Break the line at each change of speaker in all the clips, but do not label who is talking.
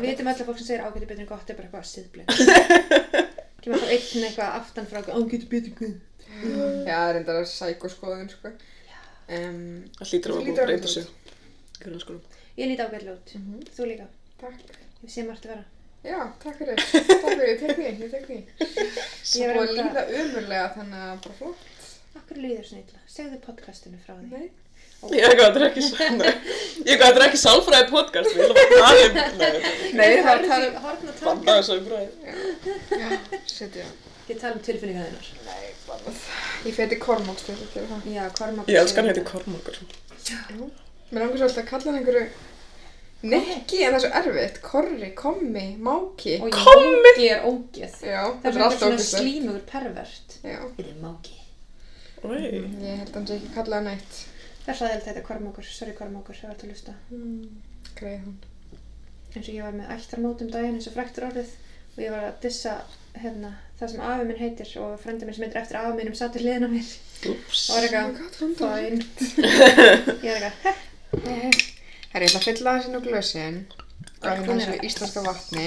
vitum öll að fólk sem segir ágæti betur en gott er bara eitthvað síðbleg kemur alltaf einn eitthvað aftan frá ágæti betur en gott
Já, það er reyndar að sækoskoðun, sko. Um,
Það hlýtur
Það
að vera búin
hlýtur
að
að
breyta
vera
sig. í grunnskólanum.
ég líti ágætlega út, þú líka
takk.
ég sé margt að vera
Já, takk fyrir. Takk fyrir, ég tek því, ég tek því.
Ég
Svo
var
búið að
einmitt
líða umurlega, þannig að bara flott.
Akkur líður svona illa, segðu podcastinu frá því
Nei.
Ég gaf þetta ekki svona. Ég gaf þetta ekki sálfræði podcast. Ég ætla bara að tala um það.
Nei, það var að tala um...
Horn og
Banna
tanga
þessu umræði.
Já, setja.
Ég tala um tilfinningar þinnar
Nei, bannað. Ég feti kormáks til að gera það.
Já, Kormákur
Ég elskar hann heiti Kormokur.
Mér langar svolítið að kalla hann einhverju... Nikki, en það er svo erfitt. Korri, kommi, máki.
Og Jóngi er ógeð
Já,
Það er
alltaf
alltaf svona
ógeðslegt.
slímugur pervert
Já,
Þetta er máki
Oi.
ég held að hann sé ekki kallað nætt.
Það er sæðilegt þetta Kormákur, sorry Kormákur, það var að lusta
Greið hann.
eins og ég var með ættarmót um daginn eins og fræktur orðið og ég var að dissa hérna, það sem afi minn heitir og frendi minn sem heitir eftir afi minnum satt í hliðina á mér
Úps.
og var eitthvað fæn ég er eitthvað "Heh,
Oh my god, framdómur. Herri, ég ætla að fylla aðeins inn á glösin og
hún
hérna
er
þessu
að-
íslenska vatni.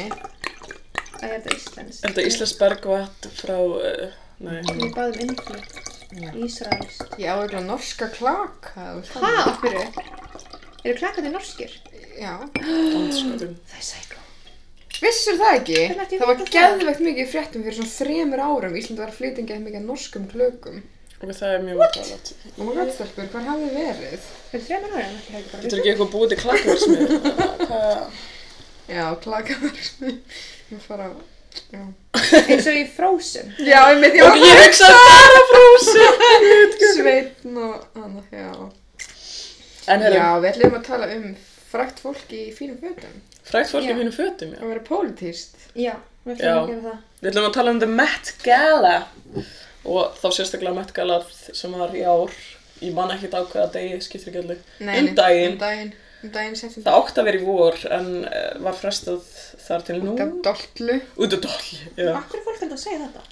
að ég er þetta íslensk
Er þetta Íslands bergvatt frá... Uh, nei.
Við báðum innflýtt, Ísraelst.
Ég á eitthvað norska klaka. þú veist
Hæ,
það.
af hverju? Eru klakkandi norskir?
Já.
Danskapin.
Það er sækó.
Vissur það ekki?
Hvernig ætti ég
Það var
vita það?
geðveikt mikið í fréttum fyrir svona þremur árum. Ísland var að flytinga mikið að norskum klökum.
Og það er mjög vantalat.
Og maður gætt stelpur, hvar hafið þið verið?
Fyrir þremur árið, ekki hefði bara
Þetta er ekki eitthvað búið til klakkarsmið.
Já, klaka var Ég fara á... Já.
við. Eins og í Frozen.
Já, ég með því
Og ég hugsa bara frúsi.
Sveitn og annað, já.
En
Já,
herru,
við ætlum að tala um frækt fólk í fínum fötum.
frækt fólk
Já.
í mínu fötum, já.
Það verið pólitíst.
Já, við ætlum að
Já.
gera það.
Við ætlum að tala um The Met Gala. Og þá sérstaklega Met Gala sem var í ár. Ég man ekkert á hvaða degi, skiptir ekki allir. Um daginn.
Um daginn, um daginn setjum
Það átti að vera í vor en uh, var frestað þar til nú.
þetta af dollu.
Út af dolli, já.
Akkur er fólk enda að segja þetta?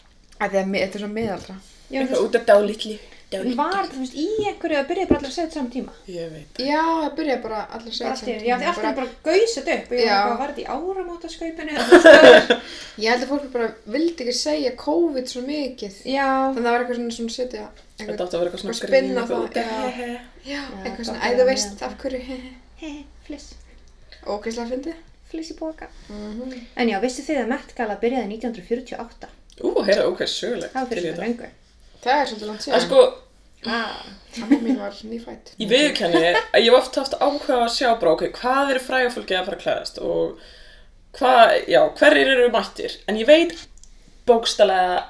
Að því að mi- þetta er svo miðaldra.
Já,
Eitthvað
þú
út af dálitli.
veist, var þú veist í einhverju að byrja bara allir að segja þetta saman tíma.
Ég veit.
Já, það byrjaði bara allir
Bara
að segja
allt í einu. Já, því alltaf bara gausat upp og ég
Já.
var bara að verða í áramótaskaupinu.
Ég held að fólk bara vildi ekki segja COVID svo mikið.
Já,
Þannig að það var eitthvað svona svona setja.
Þetta
Eitthvað,
átti að vera eitthvað svona
Eitthvað spinn á
eitthvað
það,
út af
já.
hehe.
já,
þetta
eitthvað svona,
var
æ, þú
mjög
veist, af hverju.
hei, fliss,
Ógæslega fyndi.
fliss í boka. En já, vissu þið að Met Gala byrjaði 1948?
Ú, heyrðu, ok, sögulegt.
Það var fyrir
Til í
svona
þetta.
lengur.
Það er svolítið langt
En
síðan.
sko,
Ah.
Amma mín var nýfætt.
Ég viðkenni að ég hef oft haft ákveða að sjá bara, ok, hvað eru fræga fólki að fara að klæðast og hvað, já, hverjir eru mættir, en ég veit bókstælega,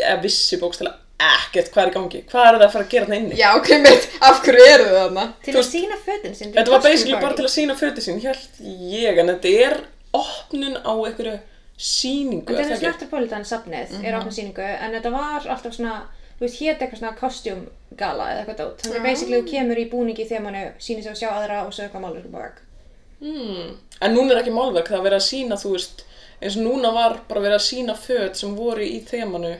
eða vissi bókstælega ekkert hvað er í gangi, hvað eru það að fara að gera þarna inni?
Já, ok, mitt, af hverju eru þau þarna?
Til
Þú
að
veist,
sína fötin sinn
Þetta var basically bara til að sína föti sín, held ég, en þetta er opnun á einhverju síningu,
Þetta
er
er
það
þess
ekki? Mhm.
Metropolitan safnið er ákveðin síningu en þetta var alltaf svona þú veist, hétt eitthvað svona kostjúmgala eða eitthvað dót
Ah.
þannig að basically þú kemur í búningi þegar mannu sýnir sig að sjá aðra og svo eitthvað málur upp á vegg
Hmm. En núna er ekki málverk, það er verið að sína, þú veist, eins og núna var bara verið að sína föt sem voru í þemanu.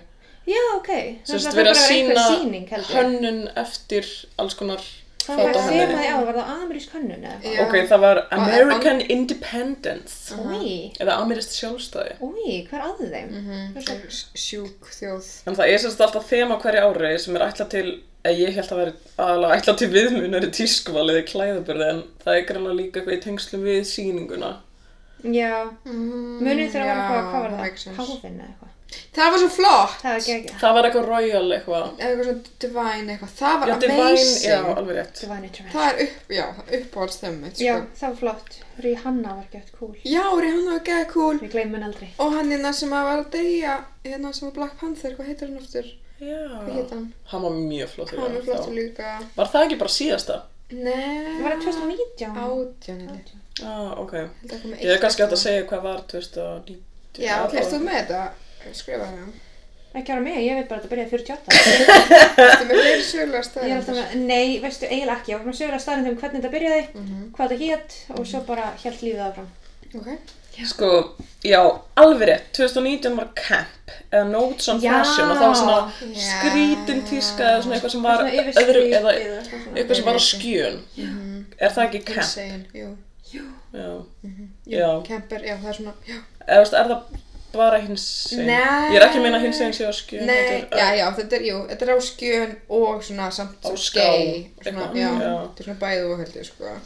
Já, ok
Sérst,
Þannig að það
verið að
bara
sína
einhver sýning heldur hön...
hönnun eftir alls konar
Það var
föt á
eitthvað
henni.
þemaði á, var það amerísk hönnun eða eitthvað
Já.
Ok, það var American Independence
Úi,
eða Amirist sjálfstæði
úi, hvað er að þeim? Það er svo-
Sjúk þjóð.
En það er semst alltaf þema á hverju ári sem er ætlað til, eða ég held að veri aðalega ætlað til viðmunar í tískval eða klæðaburði en það er greinlega líka eitthvað í tengslum við sýninguna
Já,
Mm,
Mhm. munið þegar var
já,
eitthvað, hvað var það?
makes sense.
Páfinn eða eitthvað
Það var svo flott.
Það var ekki ekki,
Það var eitthvað royal eitthvað
Eða eitthvað svona divine eitthvað. Það var
Já, Divine,
amazing.
já, alveg rétt
það var nýttur
Það er upp, já, uppáhalds þeim mitt,
Já,
sko.
það var flott, Rihanna var gett cool
Já, Rihanna var geða cool.
Við gleymum henn aldrei
Og hann hérna sem að var að deyja, hérna sem var Black Panther, hvað heitir hann aftur? Hvað
Já,
heitir hann?
hann var mjög flott
Hann var flottur líka.
Var það ekki bara síðasta?
Nei.
Það var 2019
Átján, held ég.
Já, Ah, ok
Held að koma
Ég er kannski hægt að segja hvað var 2019
Já, erst þú með þetta? Skrifa það.
Ekki ára mig, ég veit bara að þetta byrjaði 48
Ertu með fleiri
Ég
sögulega
er alltaf
staðar?
með, nei, veistu, eiginlega ekki Ég var með sögulega staðin um hvernig þetta byrjaði Hvað þetta hétt og svo bara held lífið áfram
Ok.
Sko, já, alveg rétt 2019 var Camp eða Notes on
Já.
Fashion og það var svona
Já.
skrítin tíska eða svona eitthvað sem var
Svona yfir
öðru
skrítið
eða
eða eitthvað svona.
Mhm.
eitthvað sem var á skjön er það ekki Camp?
Insane, jú. Jú.
Já.
Mhm.
Já.
Kemper, já, það er svona, já.
Eða, veist, er það bara hins einn?
Nei.
Ég er ekki að meina hins einn sé á skjön.
Nei, já, já, þetta er, jú, þetta er á skjön og svona samt
uh, Á
svona
ská,
gay. og Svona,
eitthvað,
já,
já.
þetta er svona bæðu og heldur, sko.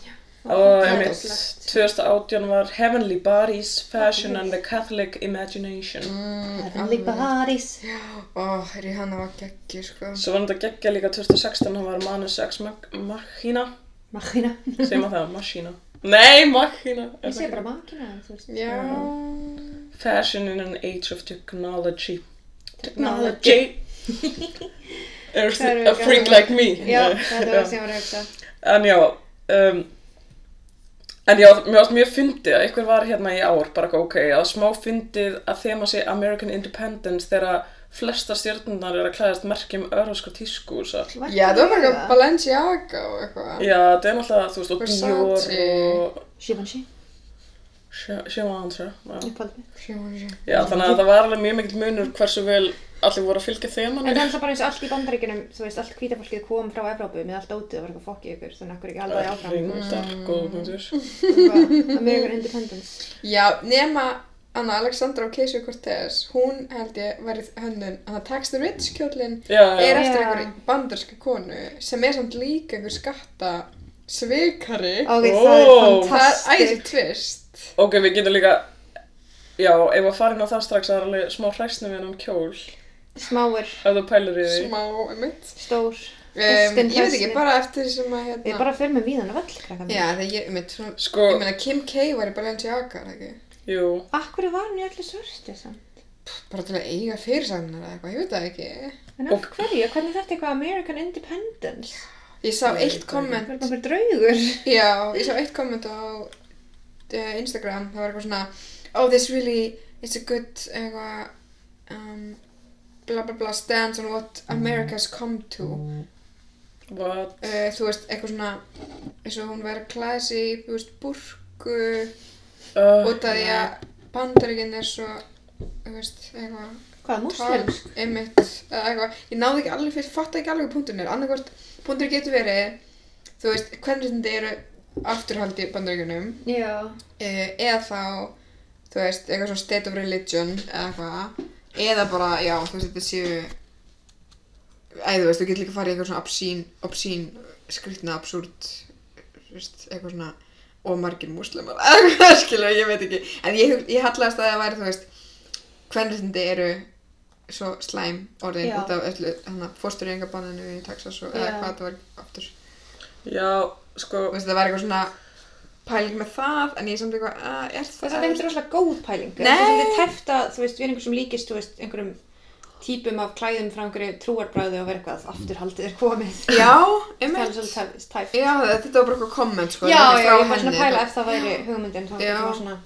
Og
Já,
einmitt,
ótrúlegt.
2018 var Heavenly Bodies, Fashion and the Catholic Imagination.
Heavenly bodies
Ó, Rihanna var geggjur, sko.
Svo var þetta geggja líka 2016, hann var Manus X Mach- Machina.
Machina
Segir maður það? Machina. Nei, Machina.
Ég segi bara machina en þú veist
Já.
Fashion in an Age of Technology.
Technology.
Er
Það eru
a freak
gaman.
like me.
Já,
Nei.
þetta var það sem ég var að hugsa
En já, um, en já, mér varst mjög fyndið að einhver var hérna í ár, bara eitthvað ok, að smá fyndið að þema sé American Independence þegar flesta stjórnundar er að klæðast merkjum örðarskar tísku og svo.
Var
Já, það var bara eitthvað
það?
Balenciaga og eitthvað.
Já, það er náttúrulega, þú veist, og
Versace.
Dior og
Givenchy,
Shimantra. Já.
uppáldið mitt.
Sjáum við
já, þannig að það var alveg mjög mikill munur hversu vel allir voru að fylgja
En það er
þemanu.
alltaf bara eins og allt í bandaríkjunum, þú veist, allt hvítafólkið kom frá Evrópu með allt ótið og var eitthvað fokk í ykkur, þannig að okkur ekki halda því áfram.
Reyndar, góð
Mm.
punktur.
Eitthvað, American Independence.
Já, nema Anna Alexandra Ocasio Cortez, hún held ég verið hönnun að það Tax the Rich kjólinn
Já,
er
já,
eftir
Já.
einhverju bandarska konu sem er samt líka einhver skatta svikari.
Ok, það
Wow.
er
það er æsir
fantastisk.
tvist.
ok, við getum líka, já, ef að fara inn á það strax, það er alveg smá hræsnum við um kjól.
Smáir,
Ef þú pælir í því.
Smá, einmitt.
stór,
Um,
Justin
ég veit ekki,
Hesney.
bara eftir sem að
Við
hérna...
bara fyrir með víðan af öll, krakkan.
Já, það ég, einmitt, svona...
Sko,
Ég meina, Kim K var í Balenciaga, er það ekki?
jú,
Akkur var hann í öllu svörstu samt?
Bara til að eiga fyrirsagnar eða eitthvað, ég veit það ekki.
En af
Og-
hverju? Hvernig er þetta eitthvað American Independence?
Ég sá
Nei,
eitt
það er
komment
Það er bara einhver draugur.
Já, ég sá eitt komment á uh, Instagram, það var eitthvað svona Oh, this really, it's a good, eitthvað, um, bla bla bla, stands on what America's come to.
what?
Uh, þú veist, eitthvað svona, eins og hún verið að klæða sig í, þú veist, burku,
Uh,
út af því að bandaríkinn er svo, þú veist, eitthvað,
Hvað,
tal,
muslimsk?
einmitt, eða eitthvað, ég náði ekki alveg fyrir, fatta ekki alveg punktunir, annarkvort, punktur getur verið, þú veist, hvernig þetta eru afturhaldi í bandaríkunum,
Já.
Eh, eða þá, þú veist, eitthvað svona state of religion eða eitthvað eða bara, já, þú veist, þetta séu eða þú veist, þú getur líka að fara í eitthvað svona obscene, obscene skrýtna, absúrt þú veist, eitthvað svona og margir múslimar, eða eitthvað, skilur, ég veit ekki en ég, ég hallast að það væri, þú veist hvernig eru svo slæm orðin
Já.
út af öllu hana, fóstureyingabanninu í Texas og, eða
Já.
hvað það var aftur þú
já, sko,
veist, það var eitthvað svona pæling með það, en ég samt eitthvað, að, er það
Það er samt einhvern rosalega góð pæling.
Nei.
Það er svolítið tæft að, þú veist, við erum einhver sem líkist, þú veist, einhverjum típum af klæðum frá einhverju trúarbræðu og vera eitthvað afturhaldið er komið.
Já,
Það er
einmitt.
svolítið tæft- tæft.
Já, þetta var bara eitthvað komment, sko.
já,
þetta var
já,
frá
ég var svona
henni,
að pæla
eitthvað.
ef það væri hugmyndin, þá
Já.
getur maður svona...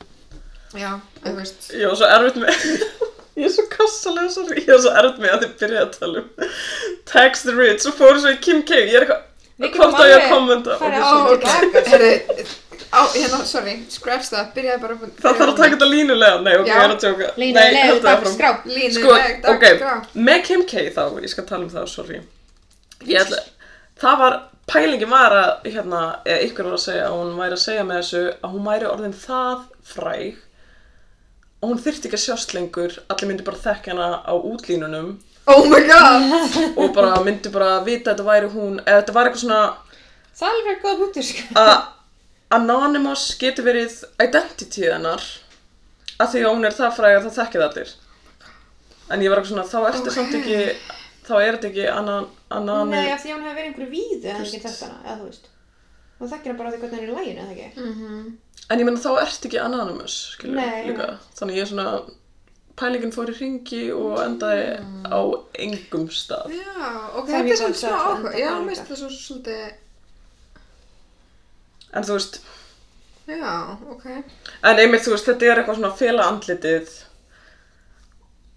Já, þú veist.
ég var svo erfitt með, ég er svo kassalega, sorry, ég var svo erfitt með að þið byrjaði að tala um Tax the Rich og fóru svo í Kim K, ég er
Við
eitthvað,
getum
hvort á ég að
alveg
kommenta?
farið
Ok,
á-
svo-
Ó, tilbaka.
sko. Herri, á, hérna, sorry, scratch það, byrjaði bara upp.
Það þarf að taka þetta línulega, nei, ok,
Já.
ég er að tjóka.
Línuleg,
Nei, haldið
dag,
áfram.
skrá.
Línu,
Sko,
veg, dag,
ok,
grá.
með Kim K þá, ég skal tala um það, sorry. Ég ætla, það var, pælingin var að, hérna, eða ykkur var að segja að hún væri að segja með þessu að hún væri orðin það fræg og hún þyrfti ekki að sjást lengur, allir myndi bara þekka hana á útlínunum
Oh my god.
og bara myndi bara vita að þetta væri hún, eða þetta var eitthvað svona
Það er alveg verið góða punktur, sko.
að Anonymous getur verið identity hennar að því að hún er það fræg að það þekkið allir. En ég var eitthvað svona, þá ertu samt ekki, þá er þetta ekki anan, anan,
Nei, af því að hún hefur verið einhverju víðu en ekki þetta hana, eða þú veist. Hún þekkir hann bara á því hvernig hann er í læginu, eða ekki?
Mhm.
En ég meina þá ert ekki anonymous, skilur
Nei,
líka. Þannig ég er svona, pælingin fór í ringi og endaði á engum stað.
Já, ok,
Það er
þetta
mjög
er svona
gott
smá
að-
áhuga.
að-
Já,
að-
mér finnst það svo svolítið,
En þú veist,
já, ok.
en einmitt þú veist, þetta er eitthvað svona að fela andlitið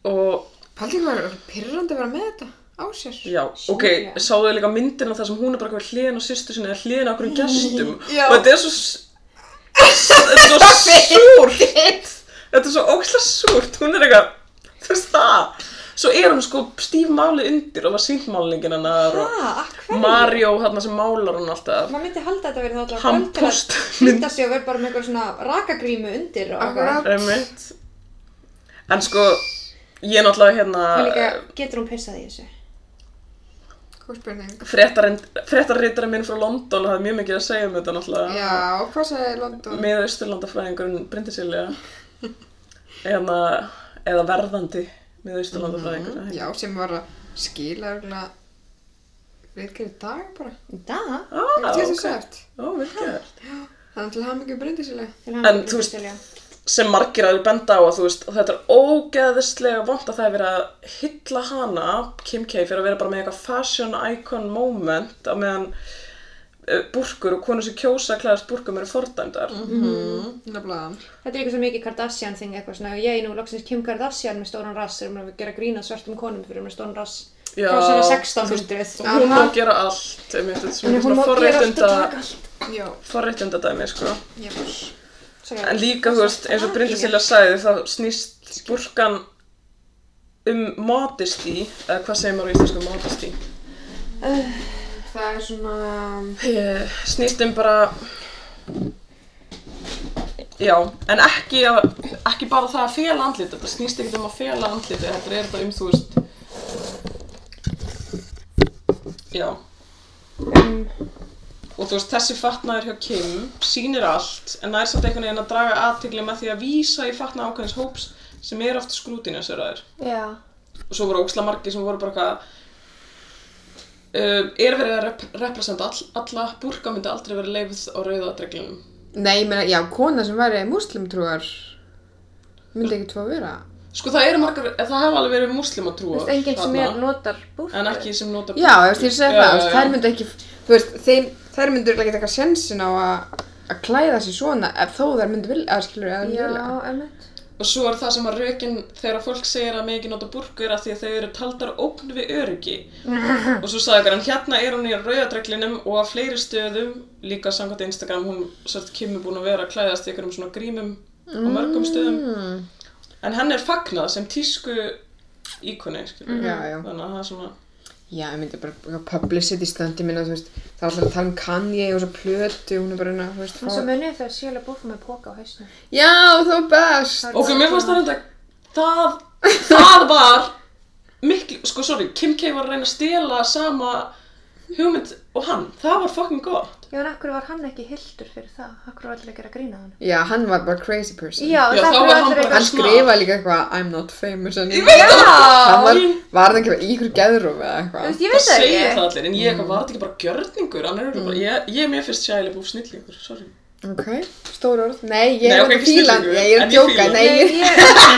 og
Paldi hvað er pyrrandi að vera með þetta á sér.
já, ok,
Sjúklega.
sáðu líka myndina þar sem hún er bara eitthvað hliðin á sýstu sinni eða hliðin á okkur gestum
Já.
og þetta er svo, s- þetta er svo súrt, þetta er svo ókslega súrt, hún er eitthvað, þú veist það, svo er hún sko stíf málið undir og var síntmálningin hennar og
Ha, að Ah, hverju?
Mario hann sem málar hún alltaf
Maður myndi halda þetta að vera þá alltaf
Hann
kvöld
post-
til að hluta sig og vera bara með eitthvað svona rakagrímu undir og eitthvað.
Akkurat.
einmitt en sko ég er náttúrulega hérna
Og líka, getur hún pissað í þessu?
Hvað spurning?
fréttarritarinn minn frá London og það er mjög mikið að segja um þetta náttúrulega
Já, hvað sagði London?
með austurlandafræðingurinn Brindisilja eða, Hérna, eða verðandi með austurlandafræðingur
Mhm. Já, sem var að skila örgulega viðgerði dag bara.
Það?
ah,
Þetta er
ok,
svo sært.
ó, vel gert
Þannig til hann ekki breyndi sérlega.
Til hamingju,
En þú veist-
Sylvía.
sem margir að benda á að þú veist þetta er ógeðislega vant að það er verið að hylla hana, Kim K fyrir að vera bara með eitthvað fashion icon moment á meðan eh, búrkur og konur sem kjósa að klæðast búrkum eru fordæmdar
Mm.
Mhm.
Nefnilega.
Þetta er eitthvað svo mikið Kardashian þing eitthvað svona og ég nú loksins Kim Kardashian með stóran rass erum að gera grína svartum konum fyrir með stóran rass
Já,
frá svona
þú veist,
1600
hún má
Aha.
gera allt um þetta er
Þannig
svona
hún má
svona
gera allt
forréttinda
og taka allt
Já.
forréttinda dæmi sko
Jæfnir.
Sorry.
en líka þú veist eins og Bryndisilla sagði þá snýst búrkan um modesty eða hvað segir maður á íslensku modesty
Það er svona...
Eh, snýst um bara já, en ekki að, ekki bara það að fela andlit þetta snýst ekkert um að fela andlit þetta er þetta um þú veist já og þú veist þessi fatnaður hjá Kim sýnir allt en nær samt einhvern veginn að draga aðtigli með því að vísa í fatna ákveðins hóps sem er oft skrútinu sér að
Já.
og svo voru ógslag margir sem voru bara eitthvað um, er verið að rep representa all, alla búrka myndi aldrei verið leifð á rauðadreglunum
Nei, ég meina, já, kona sem væri muslimtrúar myndi ekki tvo að vera.
sko það eru margar, það hafa alveg verið muslimatrúar
Enginn sem er
þarna,
notar búrku.
en ekki sem nota
Já, þú veist, ég segi
Já,
það, þú
já,
veist,
já.
þær myndi ekki, þú veist, þeim, þær myndu örugglega ekki taka sensin á að að klæða sig svona ef þó þær myndu vilja, að skilur, að þær myndu
Já,
vilja.
emmitt.
og svo er það sem að rökin þegar fólk segir að megi ekki nota búrku er að því að þau eru taldar ógn við öryggi og svo sagði ykkur, en hérna er hún í rauðadreglinum og að fleiri stöðum líka samkvæmt Instagram, hún svolítið kemur búin að vera að klæðast í einhverjum svona grímum á mörgum stöðum
Mm.
En henn er fagnað sem tísku íkoni, skilur
Mhm.
Já, já.
Þannig að það er svona...
Já, ég myndi bara bara publicity stundi minna, þú veist, það er alltaf að tala um Kanye og svo plötu, hún er bara hérna, þú veist,
En svo munið þau að sjöla búrku með póka á hausnum.
Já, þú er best!
Ok, mér fannst það reynda... Það... Það var... Miklu... Sko, sorry, Kim K var að reyna að stela sama hugmynd og hann. Það var fucking gott.
Já, en akkur var hann ekki hildur fyrir það? Akkur var allir að gera grína hann?
Já, hann var bara crazy person.
Já,
Já,
það
þá
var
var hann
allir
bara-
eitthvað
Hann
smart.
skrifaði líka eitthvað, I'm not famous anymore.
það!
Hann var, var það ekki í ykkur geðrúfi eða
Þú
eitthvað?
veist, ég
Það
veit það
segja það
ekki. Mhm.
allir, en ég
Mhm.
var þetta ekki bara gjörningur, hann er bara, ég, ég er mér fyrst sjæli búið snillingur, sorry.
Ok, stór orð. Nei, ég
Nei,
er
ok,
ekki
ekki
fílan,
snillingur,
nei, ég er
en
að
ég
djóka,
fíla.
nei,
Nei,
ég
ég,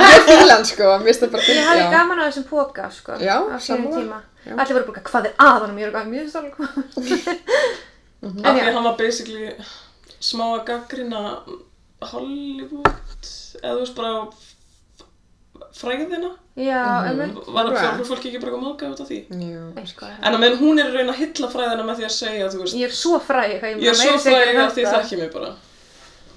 ég er fílan sko, mér finnst það bara
ég
fílan.
hafði gaman á þessum póka, sko.
Já,
á sínum
sammála.
tíma.
Já.
Allir voru bara, hvað er að honum? Ég er eitthvað, mjög stálum.
Af
Mhm.
Mhm.
En
því
já,
að hann var basically smá að gaggrina Hollywood, eða þú veist bara fræðina.
já,
Mhm.
sko, emmitt.
Var að
Bra.
fjárfólk ekki bara að móka út af því?
Já.
Eitthvað.
En að menn hún er að reyna að hylla fræðina með því að segja, þú veist,
Ég er svo fræg, hvað
ég er
meira
svo
segja
fræðið
um
að því
þetta.
þekki mig bara.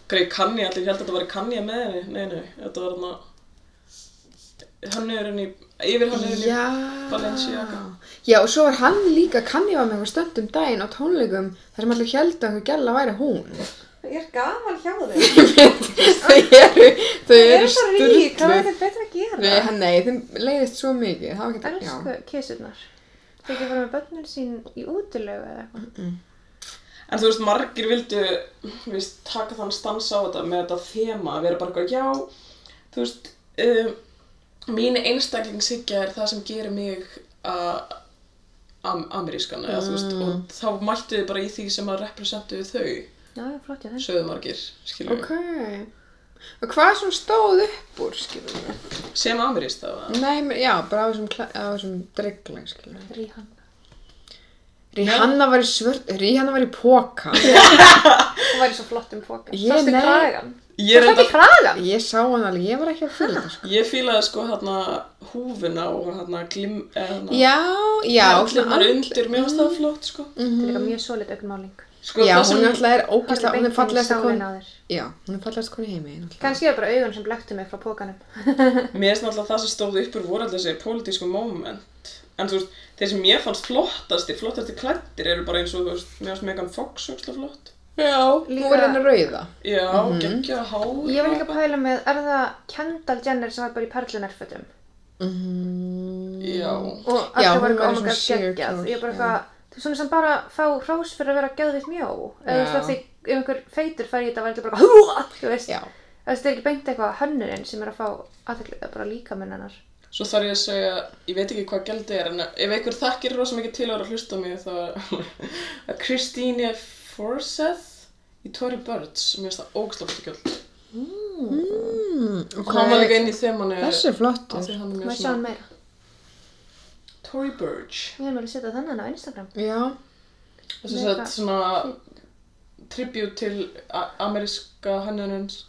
Grei kanni allir, ég held að þetta var kanni með henni, nei, nei, þetta var hann að, hann er henni, yfir hann er henni,
Já.
Balenciaga.
Já, og svo var hann líka, kann ég var með eitthvað stöndum daginn á tónleikum þar sem allir held að einhver gæla væri hún.
Ég er gaman hjá þeim.
þau eru, þau
Ég
eru
er svo rík, hvað er
styrlu.
þetta betra að gera?
Nei, hann- nei, þeim leiðist svo mikið, það var ekki það,
Elsku
já.
kissurnar. Þau ekki fara með börnin sín í útilegu eða eitthvað.
En þú veist, margir vildu, þú veist, taka þann stans á þetta með þetta þema, að vera bara eitthvað, já, þú veist, um, mín einstaklingshyggja er það sem gerir mig að am amerískan, eða þú
Mm.
veist, og þá mættu þið bara í því sem að representuðu þau,
Já, já, flott, já, þeim.
sögðu margir, skiljum,
Ok. Og hvað sem stóð upp úr, skilur við?
sem ameríst það var.
Nei, mér- já, bara á þessum, kla- á þessum dregla, skilur við.
Ríhan.
Rihanna var í svört, Rihanna var í póka.
Hún væri svo flott um fokan.
Ég-
Sástu
nei.
kragan?
Ég,
Sástu ekki
reynda,
kragan?
Ég sá hann alveg, ég var ekki að fylgja það sko.
ég fílaði sko hérna húfuna og hérna glim, eða hérna,
Já, já,
allir
svona Mhm.
voru
all-
undir, mér finnst það flott, sko.
Þetta er líka mjög solid augnmáling.
Sko,
Mm. já, hún
það sem,
er alltaf er ógæslega, hún er fallegast að
konu
konu. Já, hún er fallegast að konu í heimi. náttúrulega.
Kannski er það bara augun sem blektu mig frá pókanum
mér finnst náttúrulega það sem stóð uppur voru alltaf þessi pólitísku moment. En þú veist, þeir sem ég fannst flottasti, flottasti klættir eru bara eins og, þú veist, mér finnst Megan Fox ógstlega flott.
Já,
líka-
hún var henni rauða.
Já,
Mhm.
geggja hár.
Ég var líka að pæla með, er það Kendall Jenner sem var bara í perlunerfötum
Mhm.
Já.
og
Já,
allir
hún
voru
var
eitthvað
svona
omega
sheer
geggjað
kjól,
ég er bara
já.
eitthvað, þú veist, svona sem bara fá hrós fyrir að vera gæðvitt mjó eða þú veist
Já.
að því ef einhver feitur fær í þetta var eitthvað bara húa, þú veist
Já.
það er ekki beint eitthvað hönnurinn sem er að fá aðtekli, bara líka minn hennar
Svo þarf ég að segja, ég veit ekki hvað gældi er, en ef einhver þekkir rosa mikið til að vera að hlusta á mig, þá er að Christine Forseth í Tory Birds, mér finnst það ógslóftu gæld.
Og
Og hann var líka inn í þemanu
Mhm. Þessi er flott.
að því hann er
maður
mjög
sjá hann
svona
meira
Tory Birch.
ég er maður að setja þannig á Instagram
Já.
Þessi
Nei,
að
hvað?
svona tribut til a- ameríska hönnunum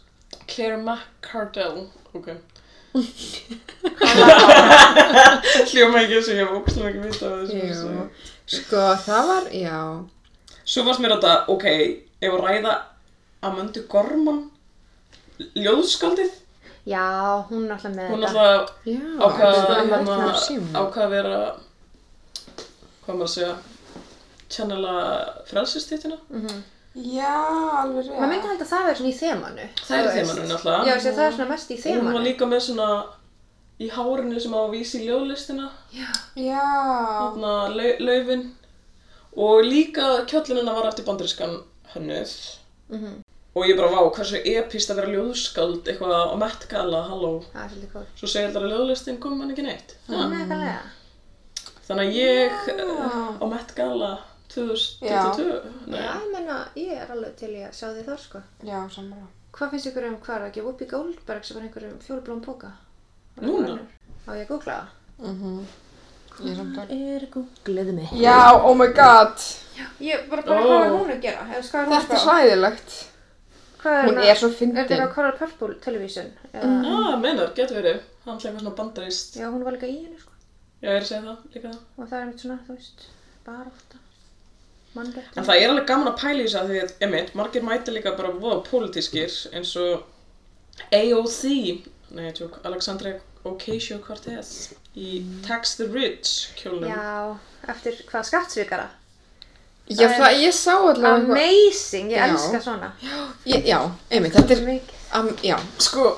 Claire McCardell, ok. Hljóma ekki þessu, ég hef ógslum ekki vita af þessu.
Já.
þessu.
Sko, það var, já.
Svo fannst mér þetta, ok, ef að ræða Amandu Gorman, ljóðskaldið,
já, hún er alltaf með
hún
þetta
alltaf
Já.
ákvað
Sko,
að
hann var
hérna,
alltaf á símanum.
ákvað að vera, hvað maður að segja, channela frelsistýttina.
Já, alveg
maður myndi held að það verður svona í þemanu
Það er þeimanum
já,
náttúrulega.
þessi, það er svona mest í
Hún var
þemanu
líka með svona í hárinu sem á að vísi í ljóðlistina,
Já.
þarna lau- laufin. Og líka kjöllinina var eftir bandarískan hönnuð.
Mhm.
Og ég bara, vá, hversu epist að vera ljóðskald eitthvað á mettgala, halló.
það er svolítið góð
Svo segir alltaf að ljóðlistin kom hann ekki neitt.
Hm.
Ha.
Nekalega.
Þannig að ég uh, á Met Gala 2022,
Ah. Já,
nei,
ég menna, ég er alveg til í að sjá því þar sko.
Já, sammála.
Hvað finnst ykkur um hvað er það ekki? Whoopi Goldberg sem var einhverjum fjólublóm póka?
núna.
Á ég að googla það?
Mhm. Ég er samtlæg.
Er googlið mig.
Já, oh my god.
Ég bara
bara, hvað er hún
að gera? Eða, hvað
Þetta er svæðilegt.
Hvað er
Hún er svo fyndin.
Er þetta á Color Purple Television? Eða...
Já, ah, meinar, getur verið. Hann ætla eitthvað svona bandarist. Já,
Já, hún var líka í henni sko.
ég er að segja það, líka það.
Og það er einmitt svona, þú veist, bara ofta. Mannrétt.
En það er alveg gaman að pæla í þess að því að, emitt, margir mæta líka bara voða pólitískir eins og AOC, nei, ég tjók, Alexandria Ocasio-Cortez í Tax the Rich kjólum.
Já, eftir hvað skattsvíkara? Það
Já,
er-
það, ég sá allavega eitthvað.
Amazing, ég
Já.
elska svona.
Ég- Já, einmitt, þetta er,
Mikið.
am, já.
Sko,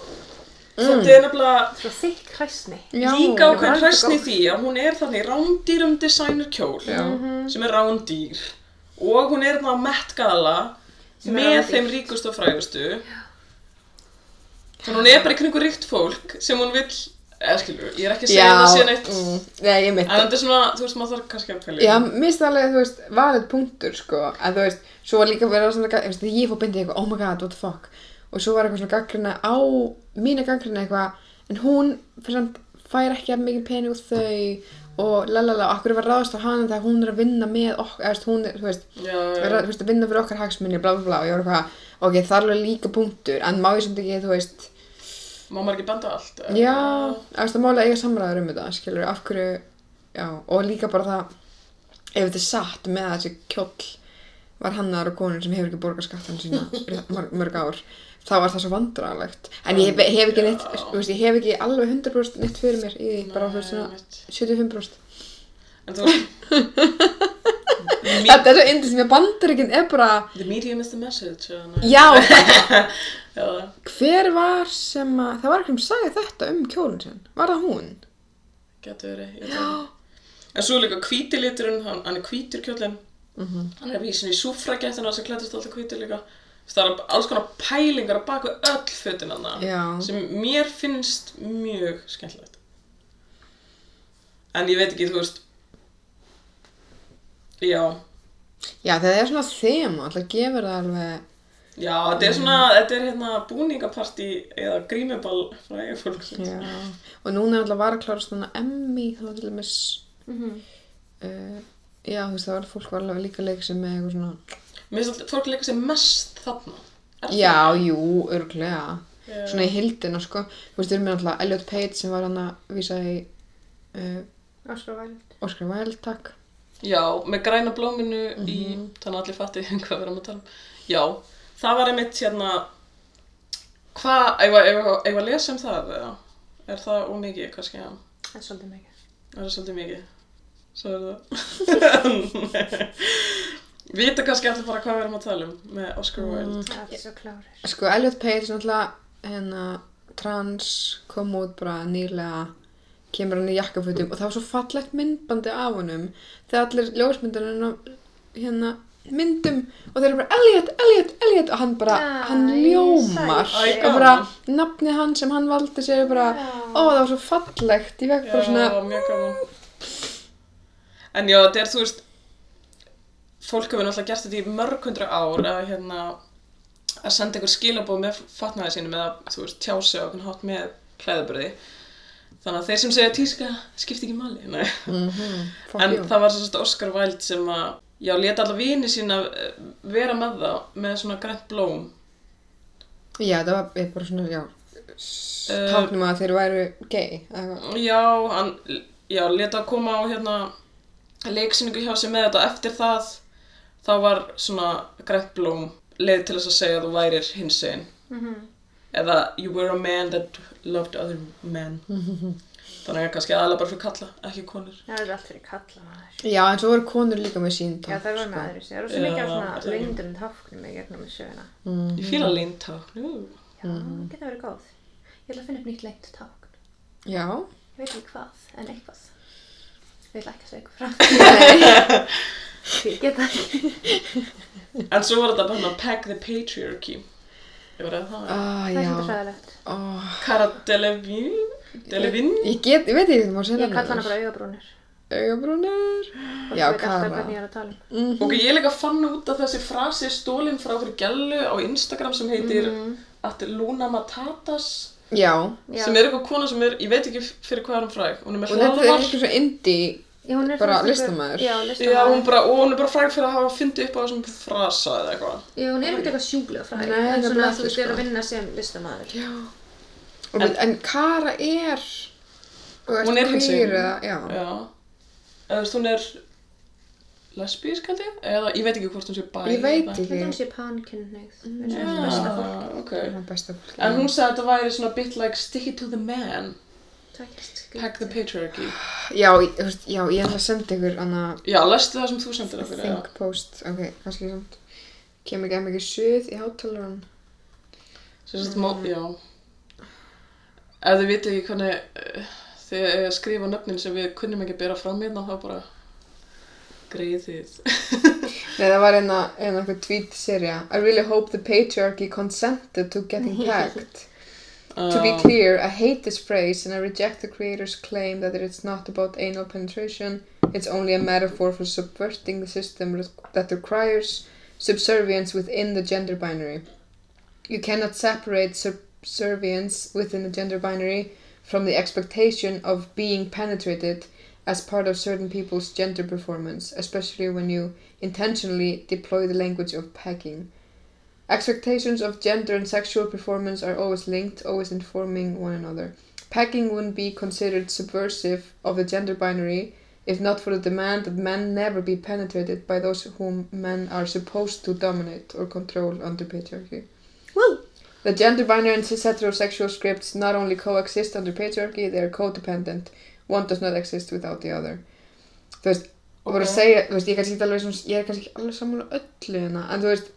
þetta er nefnilega,
Svo þykk hræsni.
já.
líka á
Ég var
hvern hræstni
alltaf
því að hún er þannig rándýrum designer kjól
Já.
sem er rándýr og hún er þannig á mettgala
Sem er
með
rándýr.
þeim ríkustu og frægustu þannig hún er bara í kringu ríkt fólk sem hún vill eða skilur, ég er ekki að segja það sé neitt
mm, Nei, ég mitt
en þetta er svona, þú veist, maður þarf kannski að pæla í
Já,
því.
mér finnst það alveg, þú veist, valið punktur, sko, að þú veist, svo var líka að vera svona, þú veist, þegar ég fór bindið eitthvað, oh my god, what the fuck, og svo var eitthvað svona gaggrina á, mína gaggrina eitthvað, en hún, fyrir samt, fær ekki að mikið pening úr þau og lalala, og akkur var ráðast á hana þegar hún er að vinna með okkur, eða þú veist, hún er, þú veist,
Já,
er að, þú veist, að vinna fyrir okkar hagsmunni, bla bla bla, og ég var eitthvað, ok, það er alveg líka punktur, en má ég samt ekki, þú veist,
má maður ekki benda á allt eða?
Já, þú veist, það máli að eiga samræður um þetta, skilur, af hverju, já, og líka bara það, ef þetta er satt með að þessi kjóll var hannar og konur sem hefur ekki borgað skattan sína í mörg, mörg ár, þá var það svo vandrarlegt. En ég hef, hef ekki neitt,
Já.
þú veist, ég hef ekki alveg 100% neitt fyrir mér í því, bara, þú veist,
Nei,
svona
mitt.
75%.
en þú veist,
Þetta er svo indið sem ég bandur ekki, er bara,
the medium is the message eða nei.
já,
eða,
hver var sem að, það var eitthvað sem sagði þetta um kjólinn sinn, var það hún?
Gæti verið, ég veit það ekki. En svo er líka hvíti liturinn, hann, hann er hvítur kjóllinn.
Mhm.
Hann er vísin í súfragettina sem klættist alltaf hvítur líka. Það er alls konar pælingar á baku öll fötin hann
Já.
sem mér finnst mjög skemmtilegt. En ég veit ekki, þú veist, já,
Já, það er svona þema, alltaf gefur það alveg,
já, þetta er svona,
Mm.
þetta er hérna búningapartí eða grímuball fræga fólk.
Já, og núna er alltaf var að klára svona Emmy, þá til dæmis
Mhm.
uh, já, þú veist, það var fólk var alveg líka að leika sem með eitthvað svona
Mér finnst alltaf fólk leika sér mest þarna. Er það?
Já, jú, örglega
Já.
svona í hildina, sko þú veist, við erum með alltaf Elliot Page sem var hann að vísa í uh,
Óskar Væld.
Oscar Wilde, takk
Já, með græna blóminu í, þannig að allir fatti hvað við erum að tala um. Já, það var einmitt hérna, hvað, eigum að- eigum að- eigum að lesa um það eða? Er það ómikið kannski, já?
Það er svolítið mikið.
Það er svolítið mikið. Svo er það. Vita kannski allir bara hvað við erum að tala um með Oscar Wilde.
Það er svo klárir.
Sko, Elliot Page náttúrulega hérna, trans kom út bara nýlega kemur hann í jakkafutum og það var svo fallegt myndbandi af honum þegar allir ljósmyndir hann á hérna, myndum og þeir eru bara Elliot, Elliot, Elliot og hann bara,
Æ,
hann ljómar
sæll.
og bara nafnið hann sem hann valdi sér er bara,
Já.
ó það var svo fallegt ég vekk
Já,
bara svona
mjög gaman. En já, þetta er, þú veist, fólk hefur náttúrulega gert þetta í mörg hundra ár að hérna að senda einhver skilabóð með fatnaði sínum eða, þú veist, tjási á okkur hátt með klæðaburði. Þannig að þeir sem segja tíska skipti ekki máli, nei.
"Mhm, fuck
en
you.
það var sérst Oscar Wilde sem að já, leta alla vini sína eh, vera með það með svona grænt blóm
já, það var ég bara svona, já
Eh,
táknum að þeir væru gay eða eitthvað.
já, hann já, leta að koma á hérna leiksýningu hjá sér með þetta eftir það þá var svona grænt blóm leið til þess að segja að þú værir hins einn eða you were a man that loved other men þannig að kannski aðalega bara fyrir kalla, ekki konur
Það er allt fyrir kalla maður.
já, en svo voru konur líka með sín sko.
Já, það var með aðri Það eru svo
Já,
mikið af
það
svona
er-
leyndurinn táknum í gegnum í söguna.
ég fíla leinta Ú.
Já, það geta verið góð. Ég ætla að finna upp nýtt leynd tákn.
já
Ég veit ekki hvað, en eitthvað. Ég ætla ekki að segja ykkur frá. Ég get það ekki.
en svo var þetta bara svona peg the patriarchy ég var að það
Það
Ah,
er svolítið
já.
fræðilegt.
Oh,
Cara Delevingne Delevingne
ég get, ég veit ekki hvað maður segir
Ég kalla hana bara augabrúnir.
Augabrúnir.
Fólk
Já,
veit alltaf
Cara.
hvernig ég er að tala um.
Ok, ég er líka fann út að þessi frasi er stólin frá okkur gælu á Instagram sem heitir at Luna Matatas
Já.
Já.
sem er eitthvað kona sem er, ég veit ekki fyrir hvað er hún fræg hún er
Og
með
þetta er
hlaðvarp
eitthvað svo indie.
Já, hún er
Bara
svona stelpu-
listamaður.
Já,
Já, hún,
listamaður.
bara, og hún er bara fræg fyrir að hafa fundið upp á þessum frasa eða eitthvað
Já, hún er ekkert eitthvað sjúklega fræg,
Nei,
en svona
nefnilega
þú veist,
ekki,
er að
sko.
vinna sem listamaður.
Já. Og, en, en Kara er... þú veist,
Hún er
queer
hinsegin.
eða, já.
Já Eða þú veist, hún er lesbísk held ég eða ég veit ekki hvort hún sé bæ
Ég veit
Ég held að hún
ekki.
sé pankynnið, eins og
Já,
svona besta fólk.
ok
Hún er besta fólk.
En hún sagði að þetta væri svona bit like stick it to the man
Takk.
Pack the patriarchy
Já, ég- þú veist, já, ég ætla að senda ykkur annað
Já, lestu það sem þú sendir okkur eða?
think post. Ok, kannski samt. Kem ekki að mikið suð í hátalaran.
Sem sagt, mm. já. Ef þið vitið ekki hvernig eh, þið eiga að skrifa nöfnin sem við kunnum ekki að bera fram hérna, þá bara greið þið.
Nei, það var eina, eina eitthvað tweet-serja. I really hope the patriarchy consented to getting packed. To
Um,
be clear, I hate this phrase and I reject the creator's claim that it's not about anal penetration. It's only a metaphor for subverting the system that requires subservience within the gender binary. You cannot separate subservience within the gender binary from the expectation of being penetrated as part of certain people's gender performance, especially when you intentionally deploy the language of pegging. Expectations of gender and sexual performance are always linked, always informing one another. Packing wouldn't be considered subversive of the gender binary if not for the demand that men never be penetrated by those whom men are supposed to dominate or control under patriarchy.
Woo!
The gender binary and cis heterosexual scripts not only coexist under patriarchy, they are codependent. One does not exist without the other. Þú veist, og bara að
Ok.
segja, þú veist, ég er kannski ekki alveg, svona, ég er kannski ekki alveg sammála öllu hérna, en þú veist,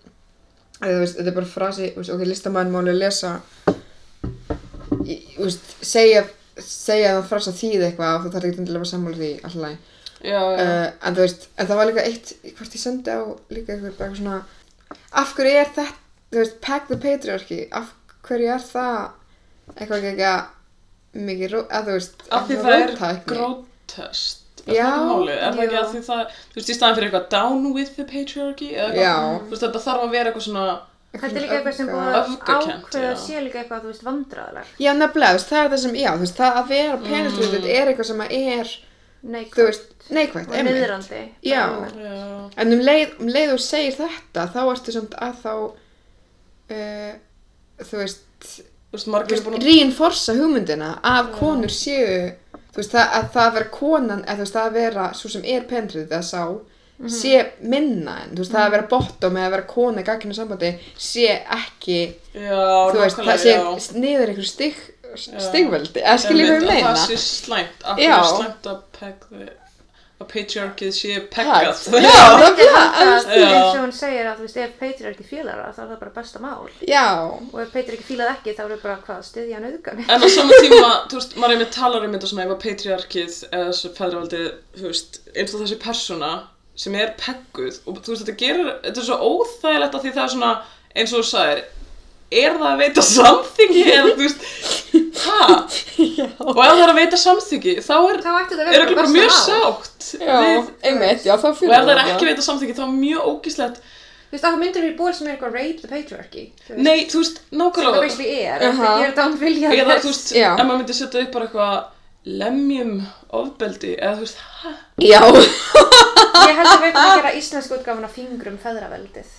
eða, þú veist, þetta er bara frasi, þú veist, ok, listamann máli lesa, í- þú veist, segja, segja að það frasa þýð eitthvað og þú þarf ekki endilega að vera sammála því alltaf læg.
Eh, Já, já.
Uh, en þú veist, en það var líka eitt hvort ég sendi á líka eitthvað, bara eitthvað svona af hverju er þetta, þú veist, pack the patriarchy af hverju er það eitthvað ekki að mikið, ró- að þú veist
af því
eitthvað
það er
róttækni.
grótest.
Já,
er það ekki
já.
að því það, þú veist, í staðan fyrir eitthvað down with the patriarchy eða
Já.
eitthvað, þú veist, þetta þarf að vera eitthvað svona,
Þetta er líka eitthvað sem búið að
Öfgakennt,
ákveða
já.
sé líka eitthvað, þú veist, vandræðileg.
Já, nefnilega, þú veist, það er það sem, já, þú veist, það að vera
Mm.
penetrated er eitthvað sem að er, þú
Neikvægt.
veist, neikvægt,
Og
einmitt.
niðrandi.
Já.
já,
En um leið, um leið og segir þetta, þá ertu samt að þá, uh, þú veist,
þú veist, margir er búin að,
reinforsa hugmyndina að konur séu þú veist, það, að það að vera konan eða þú veist, það að vera svo sem er penrið eða sá,
Mhm.
sé minna en þú veist, það að vera bottom eða að vera kona í gagginu sambandi sé ekki þú
Já,
veist, það sé niður einhver stig, stigveldi eða skiljum við meina
Það sé slæmt, af
Já.
hverju er slæmt að pegði að patriarkið sé
Já,
peggað
það er það
Já.
eins og hann segir að þú veist, ef Peitur er ekki fílar það, þá er það bara besta mál
Já,
og ef Peitur er ekki fílað ekki, þá er það bara hvað, styðja hann auðgani
En á sama tíma, þú veist, maður einmitt talar um þetta svona ef að patriarkið eða þessu feðravaldið, þú veist, eins og þessi persóna sem er pegguð og þú veist, þetta gerir, þetta er svo óþægilegt að því það er svona, eins og þú sagðir, er það að veita samþyggi eða þú veist, hæ? Og ef það er að veita samþyggi, þá er,
þá ætti það
er
að
ekki
vera
bara mjög sátt
já,
við,
einmitt, já, það
og
fyrir
ef það er ekki að veita samþyggi, þá er mjög ógíslegt,
Þú veist, af það myndir við búið sem er eitthvað rape the patriarchy. Þú veist,
nei, þú veist,
það
nákvæmlega,
basically er,
Aha.
það gerir það án vilja.
eða
þess.
þú veist,
Já.
ef maður myndi setja upp bara eitthvað lemjum ofbeldi, eða þú veist, hæ?
Já,
Ég held að við ætlum að gera íslensku útgáfuna fingrum feðraveldið.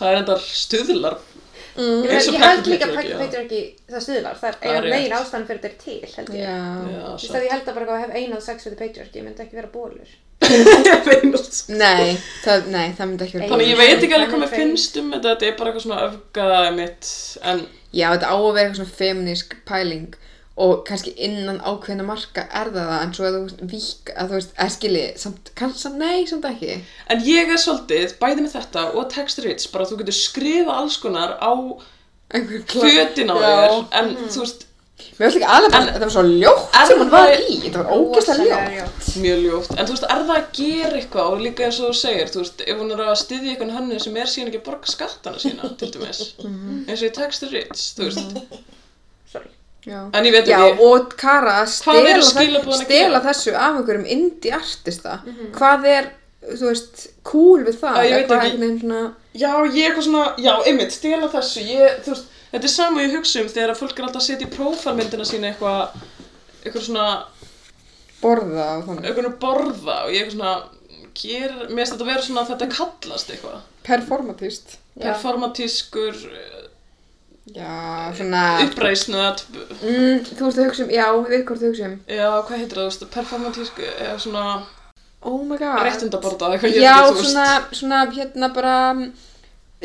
Það er endar stuðlar
Mm.
Ég,
Eins og
ég held líka að
patriarchy, já.
patriarchy, það stuðlar, það
Það er
er einu megin
rétt.
ástæðan fyrir þetta er til, held ég.
já,
Já,
Þú veist, að ég held að bara að hef einað sex við the patriarchy, ég myndi ekki vera bólur.
Þannig
nei, það, nei, það myndi ekki vera
Þannig
ég
gott.
veit ekki alveg hvað mér
Þannig
finnst um þetta Þetta er bara eitthvað svona öfgaða mitt En
Já, þetta á að vera eitthvað svona feminísk pæling og kannski innan ákveðna marka er það það en svo að þú vík að þú veist, eða skilji, samt, kannski, samt, nei, samt ekki.
En ég er svolítið, bæði með þetta og textrits, bara þú getur skrifa alls konar á
Einhver kla-
fötin á þér,
Já.
en þú veist,
Mér finnst ekki alveg bara,
En-
þetta var svo ljótt
en
sem hún var
það-
í, þetta var ógeðslega ljótt.
mjög ljóft, en þú veist, er það að gera eitthvað og líka eins og þú segir, þú veist, ef hún er að styðja eitthvað hönnu sem er síðan ekki að borga skattana sína, til dæmis, eins og í textrits, þú veist,
Sorry.
Já.
en ég veit
Já,
ekki,
og Kara að
Hvað
stela,
eru
þe-
skilaboðin að
stela
gera?
þessu af einhverjum indie artista. Hvað er, þú veist, cool við það?
Já, ég
eða
veit
hvað
ekki.
einhvern veginn svona...
Já, ég er eitthvað svona, já, einmitt, stela þessu, ég, þú veist, þetta er sama og ég hugsa um þegar að fólk er alltaf að setja í prófalmyndina sína eitthvað, eitthvað svona,
borða og þannig
eitthvað borða og ég er eitthvað svona, ger, mér finnst þetta að vera svona að þetta kallast eitthvað,
performatist
performatískur,
já, svona
uppreisnu, að,
mm, þú veist að hugsa um, já, við veit hvort þú hugsa um
já, hvað heitir það, þú veist, performatísku, eða svona,
oh my god
réttindaborða, eitthvað, ég
já,
veit ekki, um þú
svona,
veist,
svona hérna bara mm,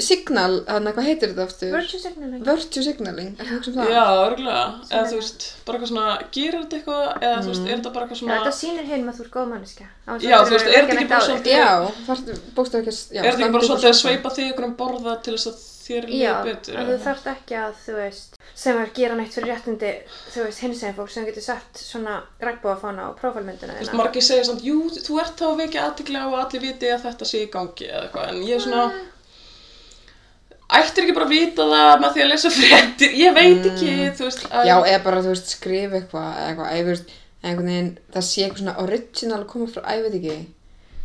signal, þannig hvað heitir þetta aftur
virtue signaling
virtue signaling, er það hugsa um það
já, örgulega, eða þú veist, bara eitthvað svona, gerir þetta eitthvað, eða þú veist, er þetta bara eitthvað
Já, þetta
svona,
sýnir hinn að þú ert góð manneska
Já, þú veist, er þetta ekki bara svolítið-
já, þarftu bókstaf ekki að já,
er þetta ekki bara
standa
svolítið að
upp og-
sveipa þig einhverjum borða til þess að þér
Já,
líði betur?
að þú þarft ekki að, þú veist, sem að gera neitt fyrir réttindi, þú veist, hins einn fólk sem getur sett svona regnbóðafána á prófálmyndina
Þú veist, margir segja samt, jú, þú ert þá að vekja aðtikla og allir viti að þetta sé í gangi eða eitthvað, en ég er svona, ættir ekki bara að vita það með því að lesa fréttir, ég veit ekki, þú veist, að,
já, e- eða bara, þú veist, skrifa eitthvað eða eitthvað, eða þú veist, einhvern veginn það sé eitthvað svona original að koma frá, að ég veit ekki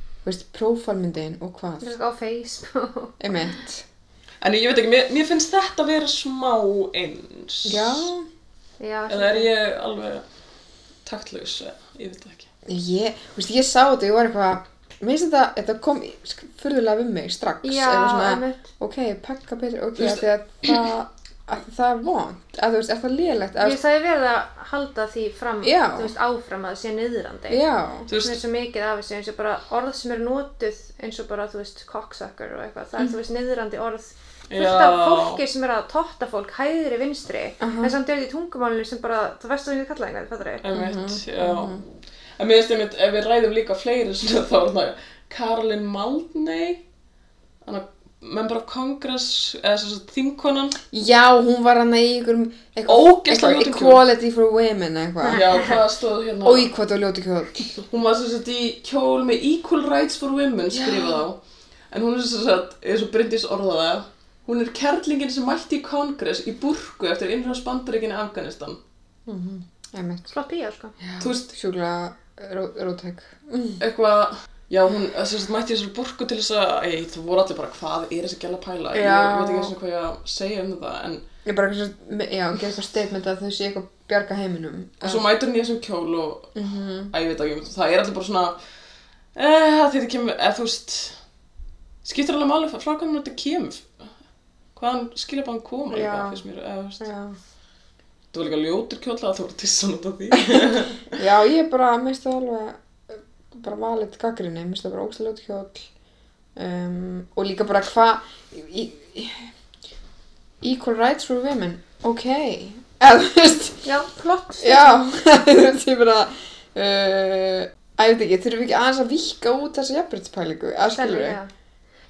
þú veist, prófalmyndin og hvað
Þú veist, á Facebook
einmitt,
en ég veit ekki, mér, mér finnst þetta að vera smá eins,
já
Já,
eða er ég alveg taktlaus, eða, ég veit það ekki.
Ég, þú veist, ég sá þetta, ég var eitthvað, mér finnst þetta, þetta kom í- sk- furðulega við mig strax,
Já,
eitthvað
einmitt.
ok, pakka betur, ok, af
Þú veist-
því að það, að það er vond, að þú veist, er það lélegt, að,
Ég veist, það er verið að halda því fram,
Já.
þú veist, áfram að það sé niðrandi.
já,
Þú
Það er
veist,
svo mikið af þessu, eins og bara orð sem eru notuð, eins og bara, þú veist, cocksucker og eitthvað. Það er, þú veist, niðrandi orð fullt af
Mhm. Já.
fólki sem er að totta fólk hæðri vinstri.
Aha.
En samt er þetta í tungumálinu sem bara, það verður það ekki að kalla einhvern, fattur þau?
einmitt, já, en mér finnst einmitt, ef við ræðum líka fleiri svona, þá er það Karolin Maldney, hann að, member of Congress, eða þess að þingkonan,
já, hún var hann í einhverjum,
Ógeðslega ljótum kjól.
equality for women, eitthvað,
Já, hvað stóð hérna?
og í hvað þú ljóti kjóð,
Hún var sem sagt í kjól með Equal Rights for Women skrifað á. En hún er sem sagt, eins og Bryndís orðaði það, hún er kerlingin sem mætti í kongress í burku eftir innræðs bandaríkinni Afganistan.
einmitt,
Flott píja, sko.
Þú veist,
sjúklega eh, ró, rótæk,
eitthvað, já, hún eh, sem sagt mætti í þessari burku til þess að, ei, það voru allir bara, hvað er þessi gæla pæla? Ég,
Já.
veit ekki eins og hvað ég á að segja um það, en
ég bara, eitthvað svo- me- já, gera eitthvað statement að þau sé eitthvað bjarga heiminum, Mhm.
og svo mætur hún í þessum kjól og,
Mm.
að ég veit ekki, það er allir bara svona, eh, þetta kemur, eða þú veist, skiptir alveg máli frá hvernig þetta kemur, hvaðan skilja bara hann koma
Já.
eh, eitthvað, finnst mér, eða þú veist.
já,
var líka ljótur kjóla að þú voru tissan út af því.
Já, ég bara minnst það alveg uh, bara valið gaggrinni, minnst það bara ógstlega ljótt hjól um, og líka bara hvað Equal Rights for Women ok, eða þú veist
Já, plott.
já, þú veist ég bara uh, að ég veit ekki, þurfum við ekki aðeins að vika út þessa jafnbrytspælingu, að skilur við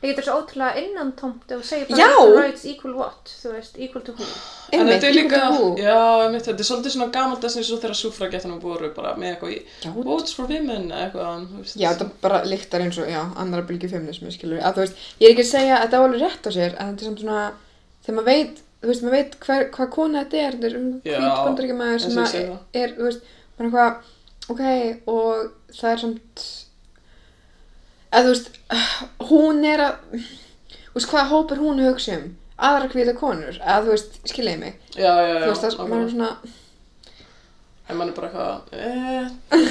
Ég getur svo ótrúlega innantómt ef þú segir bara
Já.
equal rights equal what, þú veist, equal to who.
en þetta er líka,
já,
já, einmitt, þetta er svolítið svona gamalt þess að þeirra súfragettunum voru bara með eitthvað í Votes for Women eitthvað. þú veist.
já, þetta bara lyktar eins og já, annara bylgi feminismi, skilur við að þú veist, ég er ekki að segja að þetta er alveg rétt á sér en þetta er samt svona, þegar maður veit þú veist, maður veit hver, hvað kona þetta er þetta er um
Já,
hvít bandaríkjamaður sem
eins og ég
að
segi
er,
það.
þú veist, bara eitthvað ok, og það er samt að þú veist hún er að þú veist, hvaða hóp er hún að hugsa um aðra hvíta konur, að þú veist, skiljiði mig
Já, já, já.
þú veist, það er maður
nákvæmlega.
er svona
En mann er bara eitthvað, eh,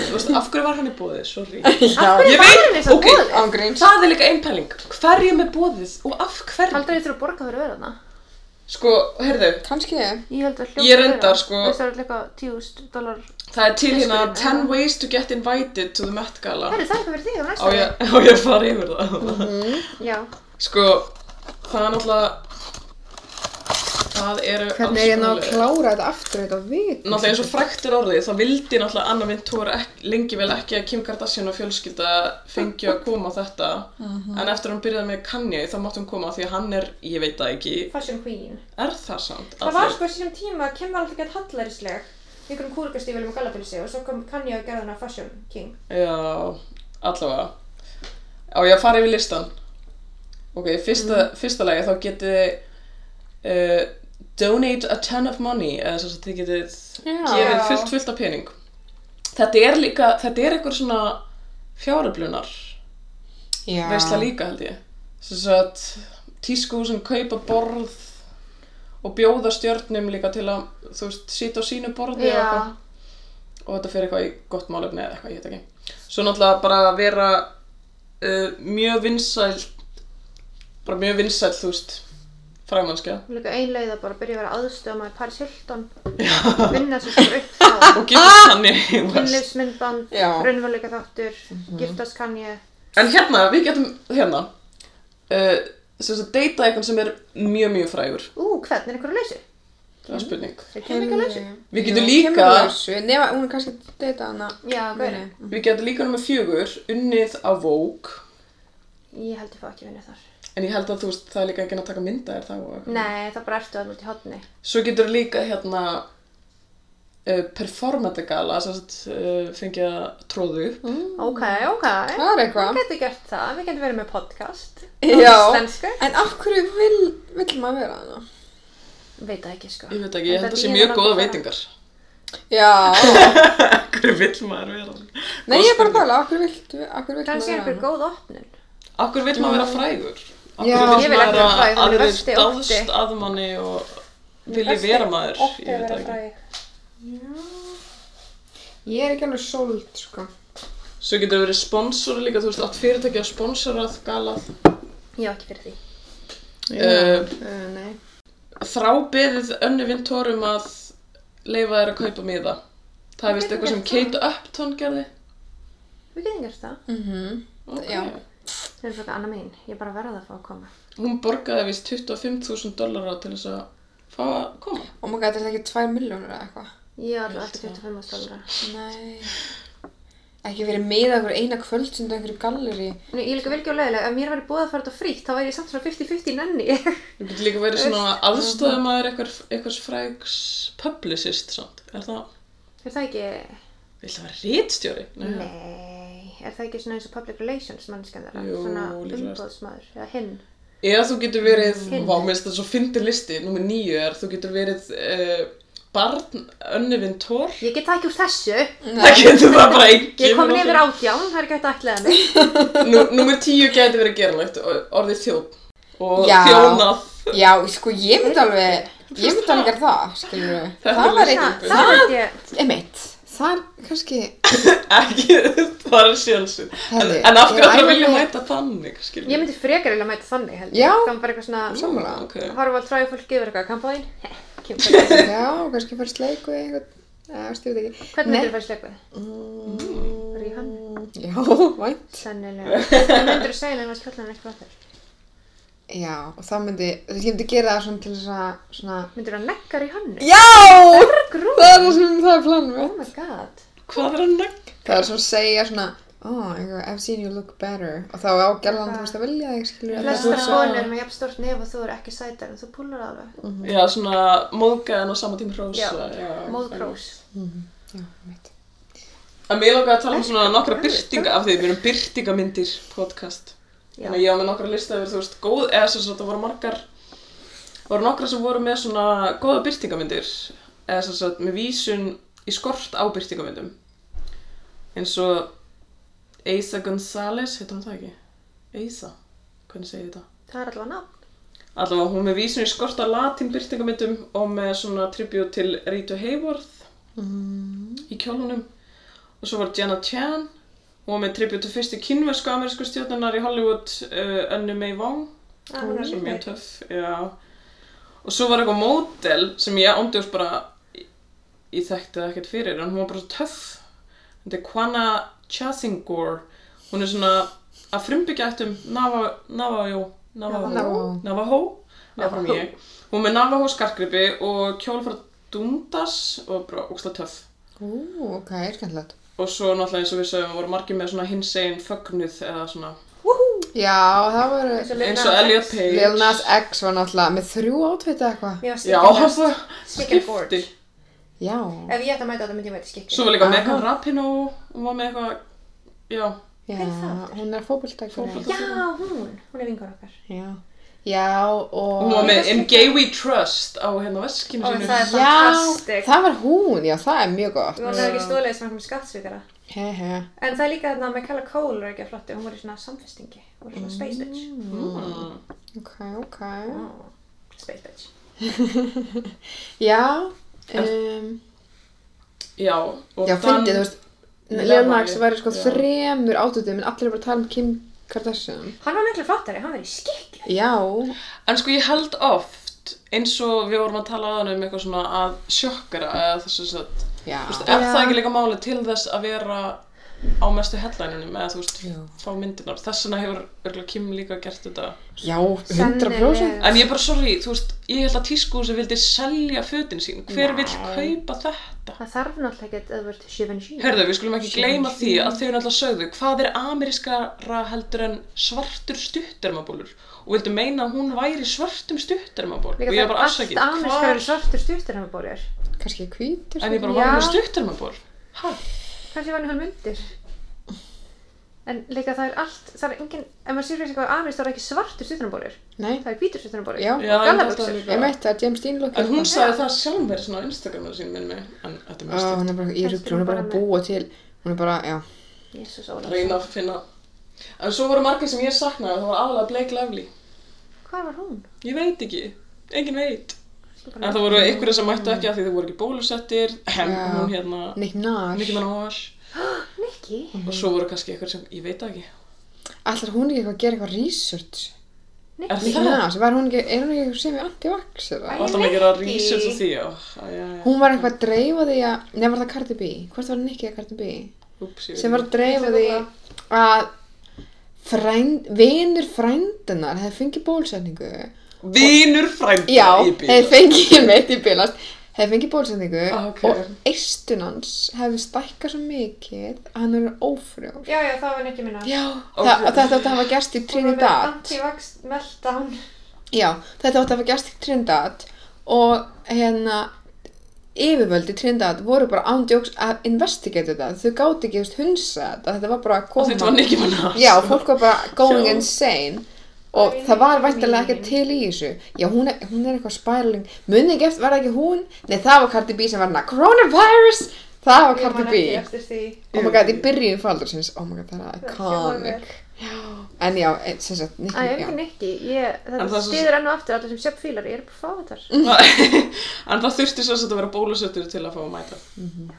þú veist, af hverju var hann í bóðið, sorry.
já,
Ég
Bara
veit,
eins og
ok, um-
boðið.
ángríns
það er líka einn pæling, hverjum er bóðið og af hverju?
Haldur ég þurfa að borga fyrir að vera þarna?
Sko, heyrðu,
kannski,
Ég held að hljóta
Ég reyndar, sko-
Þú veist, það er líka 10.000 dólar.
það er til hérna
Fiskurinn,
10
já.
ways to get invited to the Met Gala.
Herri, það er eitthvað fyrir þig á
Ah. Á
næsta
ég, á ég að fara yfir það?
Mhm.
ári. Já.
Sko, það er náttúrulega, það eru
hvernig er ég að ná að
konar-
klára þetta aftur þetta vit
Náttúrulega eins og frækt er orðið, þá vildi náttúrulega Anna Vintour ek- lengi vel ekki að Kim Kardashian og fjölskylda fengju að koma á þetta
Mhm.
en eftir að hún byrjaði með Kanye þá mátt hún koma því að hann er, ég veit það ekki,
Fashion Queen.
er það samt?
Það
Af
var
því-
sko þessum tíma að Kim var alltaf gett hallarísleg í einhverjum kúrikastífilum og gallapilsi og svo kom Kanye og gerði hana Fashion King.
Já, allavega. Á ég að fara yfir listan. Ok, fyrsta,
Mhm.
fyrsta lagi þá getið þið uh, donate a ton of money eða svo að þið getið gefið fullt fullt af pening. Þetta er líka, þetta er einhver svona fjáröflunar. veisla
já,
líka held ég sem sagt tískuhúsin kaupa borð og bjóða stjörnum líka til að þú veist, sýta á sínu borði og
Já.
eitthvað. og þetta fyrir eitthvað í gott málefni eða eitthvað, ég veit ekki svo náttúrulega bara að vera uh, mjög vinsæl bara mjög vinsæl, þú veist fræmannskja
Líka ein leið að bara byrja að vera aðstöðum að Paris Hilton. Vinna sem sem upp þá.
og gifta þannig West.
Kynlifsmyndband,
Já.
raunveruleika þáttur, giftast kann ég.
en hérna, við getum hérna uh, sem sagt, deyta eitthvað sem er mjög, mjög frægur
Ú, hvern er einhverju lausu?
það er spurning
Er kemur ekki lausu?
við getum
kemur
líka
lausu, nema hún er kannski að deyta hana
Já, gauri.
Nei.
Við getum líka nummer fjögur, unnið á vók,
Ég held ég fá ekki vinnu þar.
en ég held að þú veist, það er líka ekki að taka mynda þér þá. og
Mm.
eitthvað.
Nei, það bara ertu að út í hotni.
Svo getur líka hérna uh, performategala, sem sagt, uh, fengið að tróðu upp.
Mm.
Ok, ok.
það er eitthvað
Við getum gert það, við getum verið með podcast.
Já.
Íslensku.
En af hverju vil, vil maður vera hana?
Veit það ekki, sko.
Ég veit ekki, ég held
Þetta
að sé
býður
mjög
okkur
góða
bara.
veitingar.
Já,
Hverju vill maður vera?
nei ég er bara að pæla, af hverju vil, af hverju vil maður
Kannski er
vera
einhver
hana?
góð opnun.
Akkur vill maður vera frægur?
Já.
Akkur
Ég
vill
vil ekki
maður
vera fræg,
að
þannig
aðrir
versti ótti.
dáðst að manni og vilji
Versti
vera maður?
Ótti að
Ég veit
vera
það ekki.
fræg.
Ég er ekki alveg sold, sko.
Svo getur verið sponsor líka, þú veist, allt fyrirtæki að sponsorað galað.
Ég var ekki fyrir því.
Uh,
Uh, nei.
þrábeðið önnu vintórum að leifa þér að kaupa miða. Það er vist eitthvað sem Kate Upton gerði.
Við getum gert það.
Mm
Okay.
Já.
Það er frækka annað mín. Ég bara verða að fá að koma.
Hún borgaði vist 25.000 dollara til þess að fá að koma.
Og maður gæti ekki 2 miljónur eða eitthvað.
Ég var alltaf 25 stólara.
Nei. Ekki verið með einhver eina kvöld sem þetta einhverju galleri.
En ég er líka vel ekki á leiðilega. Ef mér væri búið að fara þetta frítt, þá væri ég samt svona 50-50 nenni.
Þú getur líka verið svona aðstöðumæður eitthvað frægs publicist samt. Er það,
er það ekki...
vil það vera rítstjóri?
Nei. Er það ekki svona eins og public relations mannskan þeirra?
Jú,
svona
líklegast.
umbóðsmaður. Eða hinn.
Eða þú getur verið,
Hinn.
vá, mér finnst þetta svo fyndi listi, nummer nýju er, þú getur verið uh, barn önnu vintór.
Ég get það ekki úr þessu.
Það getur það bara enginn.
Ég kom
náttúrulega.
nefnir átján, það er ekki hægt að ætlaða mig.
Nú, númer tíu gæti verið geranlegt orðið þjóð og
Já.
þjónað
Já, sko, ég myndi alveg, ég myndi alveg gera það, skilur við.
Þetta
Það
er
var
líka-
eitthvað,
Það, það veit ég.
emitt, það er kannski,
ekki, það er sjansinn en,
Herri,
en af hverju
ég
ætlar að
æfi
vilja
mig-
mæta þannig skilur
Ég myndi frekar eiginlega mæta þannig held
Já.
Það var bara eitthvað svona
sammála.
okay.
Horfa á træðu fólk yfir eitthvað kampaðin Hvernig
Já, kannski fara í sleik við einhvern, eða veist, ég veit ekki.
myndir
Nei.
þú fara í sleikvið?
Mm.
Bara í hann?
Já, vænt.
Sennilega. Hvað myndir þú segja henni að um kjólan er ekki flottur?
Já, og þá myndi, þú veist, ég myndi gera það svona til þess að, svona...
Myndir þú að neggar í hannu?
Já!
Grú!
Það er það sem það er planum
Oh my god.
Hvað er hann negg?
Það er svo að segja svona, oh, eitthvað, I've seen you look better. Og þá á gerðan þú veist að vilja þig, skilur.
Flestar
Rosa.
konur með jafn stort nef og þú eru ekki sætar en þú púlar alveg.
Já, svona móðgæðan og sama tíma hrósa.
Já, Móðgrós.
Mhm. Já, mitt.
En mér langaði að tala um svona nokkra byrtinga af því við erum byrtingamyndir podcast.
Já.
Þannig að ég var með nokkra lista yfir, þú veist, góð, eða sem sagt, það voru margar, voru nokkra sem voru með svona góða byrtingamyndir, eða sem sagt, með vísun í skort á byrtingamyndum. Eins og Eisa González, heitir hún það ekki? Eisa, hvernig segir þetta?
Það er allavega nafn.
Allavega, hún er með vísun í skort á latín byrtingamyndum og með svona tribut til Rita Hayworth í kjólunum og svo var Jenna Chan hún var með tribut til fyrstu kynversku amerísku stjórnunar í Hollywood uh, Önnu May Wong
Ah, hún er
sem er
mjög
mjög töff já. og svo var eitthvað módel sem ég ándjóðs bara ég- ég þekkti það ekkert fyrir en hún var bara svo töff þetta er Kwana Chasingor hún er svona að frumbyggja eftir Navajo Navajo
Navajo.
Navajo áfram ég. hún er með Navajo skarkripi og kjól frá Dundas og bara ógsta töff
Ú, ok, skemmtilegt.
og svo náttúrulega eins og við sögum voru margir með svona hinsegin fögnuð eða svona
Já, það voru...
Eins og Lil
eins
Nas
og Elliot
X.
Page
Lil Nas X var náttúrulega með þrjú átvita eitthvað.
Mér var
já,
skikkin
hann
best.
var
Skikkin board.
skipti
Já.
Ef ég ætti að mæta þetta myndi ég mæta skikkin.
svo var líka
Aha.
Megan Rapinoe hún var með eitthvað já,
Já,
Hver er það aftur?
hún er fókbóltækari.
Fótbolta-
Já, hún. Hún er vingur okkar.
Já. Já, og...
hún var með
Líka
In Gay We Trust á hérna veskinu
Ó,
sínu
það er
Já,
fantastic.
það var hún, já, það er mjög gott.
Við vonum ekki stólið sem hann kom skattsvíkara.
He, he.
En það er líka þarna með Kalla Cole er ekki að flottu. Hún var í svona samfestingi. Hún var svona space bitch.
mm.
Ok, ok.
Mm. Space bitch.
Já, um,
já, og
já, fyndið, þú veist, Lil Nas
Lavalle.
væri sko
Já.
þremur átöðum en allir er bara að tala um Kim Kardashian.
Hann var miklu flottari. Hann var í skikkin.
Já,
en sko ég held oft eins og við vorum að tala aðan um eitthvað svona að sjokkara eða þessu satt
Ah. já.
Þú veist, er það ekki líka máli til þess að vera á mestu headlininum eða þú veist,
Já.
fá myndirnar þess vegna hefur örgulega Kim líka gert þetta
Já, 100%.
Sennilega.
en ég er bara sorry, þú veist, ég held að tískúsi vildi selja fötin sín, hver vill kaupa þetta?
Það þarf náttúrulega ekki að það vörði Givenchy.
Herðu, við skulum ekki gleyma því að þau náttúrulega sögðu hvað er amerískara heldur en svartur stuttermabólur og vildu meina að hún væri í svörtum stuttermaból og
Líka
ég
það
er
er
bara
allt
afsakið,
amerískar eru svartur stuttur hann bólir.
Kannski hvítur.
en ég bara
Já.
var með stuttermaból Hæ?
Kanski var hann hann undir. En líka það er allt, það er engin, ef maður sér fyrir sig hvað amerískar eru ekki svartur stuttur hann bólir.
Nei,
Það er hvítur stuttur hann bólir.
já.
Já, ég held
Gallabuxur.
það
Ég
líka
meitt að James Dean lukki.
En hún sagði það sjálf mér svona á Instagramu sín minni en
Ah.
þetta er
Ó,
mjög stund
hún er bara, ég rugl, hún er bara að búa til, hún er bara, já.
Jésús Ólafsson.
reyna að finna en svo voru margir sem ég saknaði það var aðalega Blake Lively
Hvað var hún?
ég veit ekki, engin veit
Kannski
en
bara-
það voru einhverja sem mættu ekki af því þau voru ekki bólusettir hem,
Já.
hún hérna,
Nick Nash.
Nicki Minaj
Nikki?
og svo voru kannski einhverja sem, ég veit það ekki
Allar hún ekki eitthvað að gera eitthvað research.
er
Nick
það?
Nash, var hún ekki, er hún ekki eitthvað sem er anti-vax eða?
Æ.
alltaf maður að gera
Nicki.
research á því já,
Hún var eitthvað að dreifa því að, nefn var það Cardi B, hvort var Nicky að Cardi B?
Ups, ég
Sem var
veit
að dreifa því að frænd, vinur frændunar hefði fengið bólusetningu.
ekki vinur frændi
Já,
í
hefði
bíl
fengið meitt í bilast, hefði fengið bólusetningu
Ah, ok.
og eistun hans hefði stækkað svo mikið að hann er ófrjór.
Já, já, það var Nikki minna.
Já,
Ok.
það, og þetta átti að hafa gerst í Trinidad.
Antivax meltdown.
Já, þetta átti að hafa gerst í Trinidad og hérna yfirvöldi Trinidad voru bara ándjóks að investigate þetta, þau gáti ekki hefst hunsa þetta, þetta var bara að
og
koma
þetta var Nicki Minaj
Já, fólk var bara going
Já.
insane og það var væntanlega ekki til í þessu Já, hún er, hún er eitthvað spiraling munið ekki eftir, var það ekki hún? Nei, það var Cardi B sem var hana Coronavirus! Það var Cardi B
Ég man ekki eftir því.
Oh my god, í byrjun faldursins Oh my god, það er
Það hljómar vel.
iconic En já, eh, sem
Æ,
sagt, Nicki,
ég
já
ekki Nikki. Ég,
En
það
það-
stýður enn og aftur allir sem sepp fílar. Ég er bara fávatar.
en það þurfti svo að vera bólusettur til
Mhm.
að fá að mæta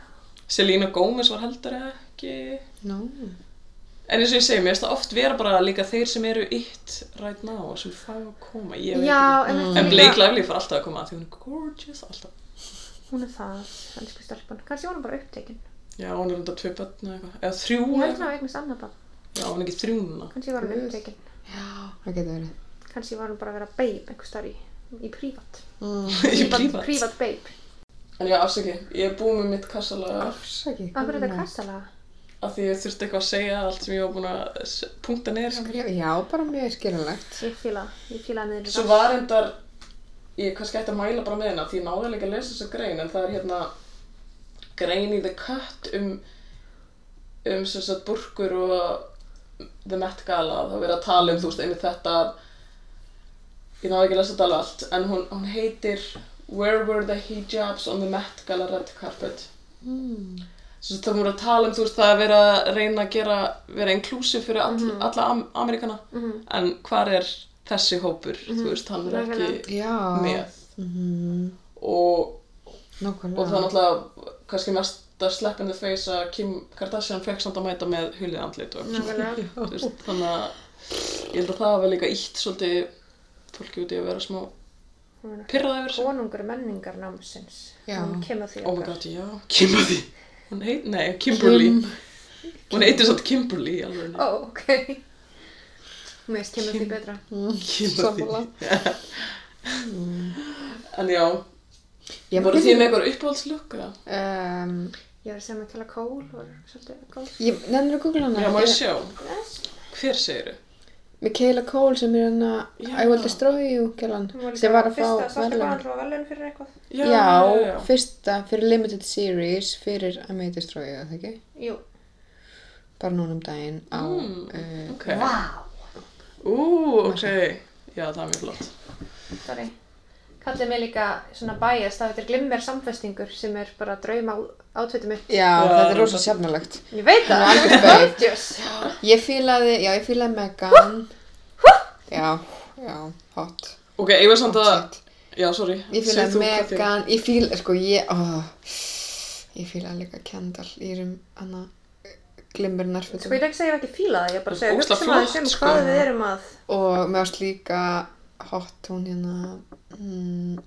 Selena Gomez var heldur ekki
no.
En eins og ég segi, mér finnst það oft vera bara líka þeir sem eru it right now sem fá að koma, ég veit
Já,
ekki.
en,
En Blake Lively fær alltaf að koma að því hún er gorgeous alltaf.
Hún er það, elsku stelpan. Kanski var hún bara upptekin.
Já, hún er undan tvö börn eða eitthvað. Eða þrjú
Ég held
eða
hún að eignast annað bara.
Já, hún er ekki þrjú núna.
Kanski var hún
Guð.
upptekin.
það getur verið.
Kanski var hún bara að vera babe einhvers þar í, í prívat.
Í
Prívat,
prívat.
prívat babe.
En já, afsaki, ég er búin með mitt kassalega
Afsakið.
Af hverju er þetta kassala?
af því ég þurfti eitthvað að segja allt sem ég var búin að s- punkta niður. sko.
Skrifa, já, bara mjög skiljanlegt.
Ég fíla, ég fíla hann niður. í
Svo
rass.
var endar, ég kannski ætti að mæla bara með hennar því ég náði ekki að lesa þessa grein en það er hérna grein í The Cut um, um sem sagt burkur og The Met Gala þá er verið að tala um þú veist einmitt þetta að ég náði ekki að lesa þetta alveg allt en hún, hún heitir Where were the hijabs on the Met Gala red carpet Svo það voru að tala um, þú veist, það að vera að reyna að gera, vera inclusive fyrir all, alla am Amerikana,
Mhm.
en hvar er þessi hópur, þú veist, hann er ekki
Nákvæmlega.
Já.
með.
Mhm.
Og,
Nákvæmlega.
og það er náttúrulega, kannski mest að slepp in the face að Kim Kardashian fekk samt að mæta með hulið andlit og eitthvað,
Nákvæmlega.
svona, þú veist, þannig að ég held að það hafi líka ítt svolítið fólki úti að vera smá
Hún er
pyrraða yfir þessu.
konungur menningar námsins.
Já.
Hún kemur því
Oh my god, já, Kimberly. Hún heit, nei, Kimberly. Hún heitir svolítið Kimberly, í alveg.
Ó, ok. Mér finnst kemur því betra.
Sammála.
Sammála En já,
Ég
voru
bara
þið með eitthvað uppáhaldslukk? eða?
Um,
Ég var að segja mig að tala kól, var svolítið kól.
ég nefnir að googla hana.
Já, má ég sjá,
Yes.
hver segir þau?
Michaela Cole sem er hann að
Já.
I will destroy you, gælan.
Hún var
Sem
líka
var að
fyrsta
fá
Sasha
verðlaun.
Baron Cohen verðlaun fyrir eitthvað.
Já,
já.
fyrsta fyrir limited series fyrir I may destroy you, það ekki?
Jú.
Bara núna um daginn á...
Mm,
Uh,
Ok,
Vá.
ú, ok Já, það er mjög flott
Sorry. Kallið mig líka svona bias, það heitir glimmer samfestingur sem er bara að drauma átveiti mitt.
já, þetta
það-
er rosa sjafnalegt.
Ég veit það.
Hún er algjör babe.
Gorgeous.
Ég fílaði, já, ég fílaði Megan. Já, já, hot.
Ok, ég var samt að
Hot
Já, sorry,
Ég
Segð
fílaði
þú hvað þig-
Megan, ég fíla, sko, ég, ó, ég fílaði líka Kendall í þeim, hana, glimmer
Sko ég
nærfötum.
er ekki að segja að ég hef ekki fíla það, ég er bara að segja
Það er ógeðslega
hugsa maður
flott,
sem
sko.
hvað við erum að
Og mér varst líka hot, hún hérna, mm,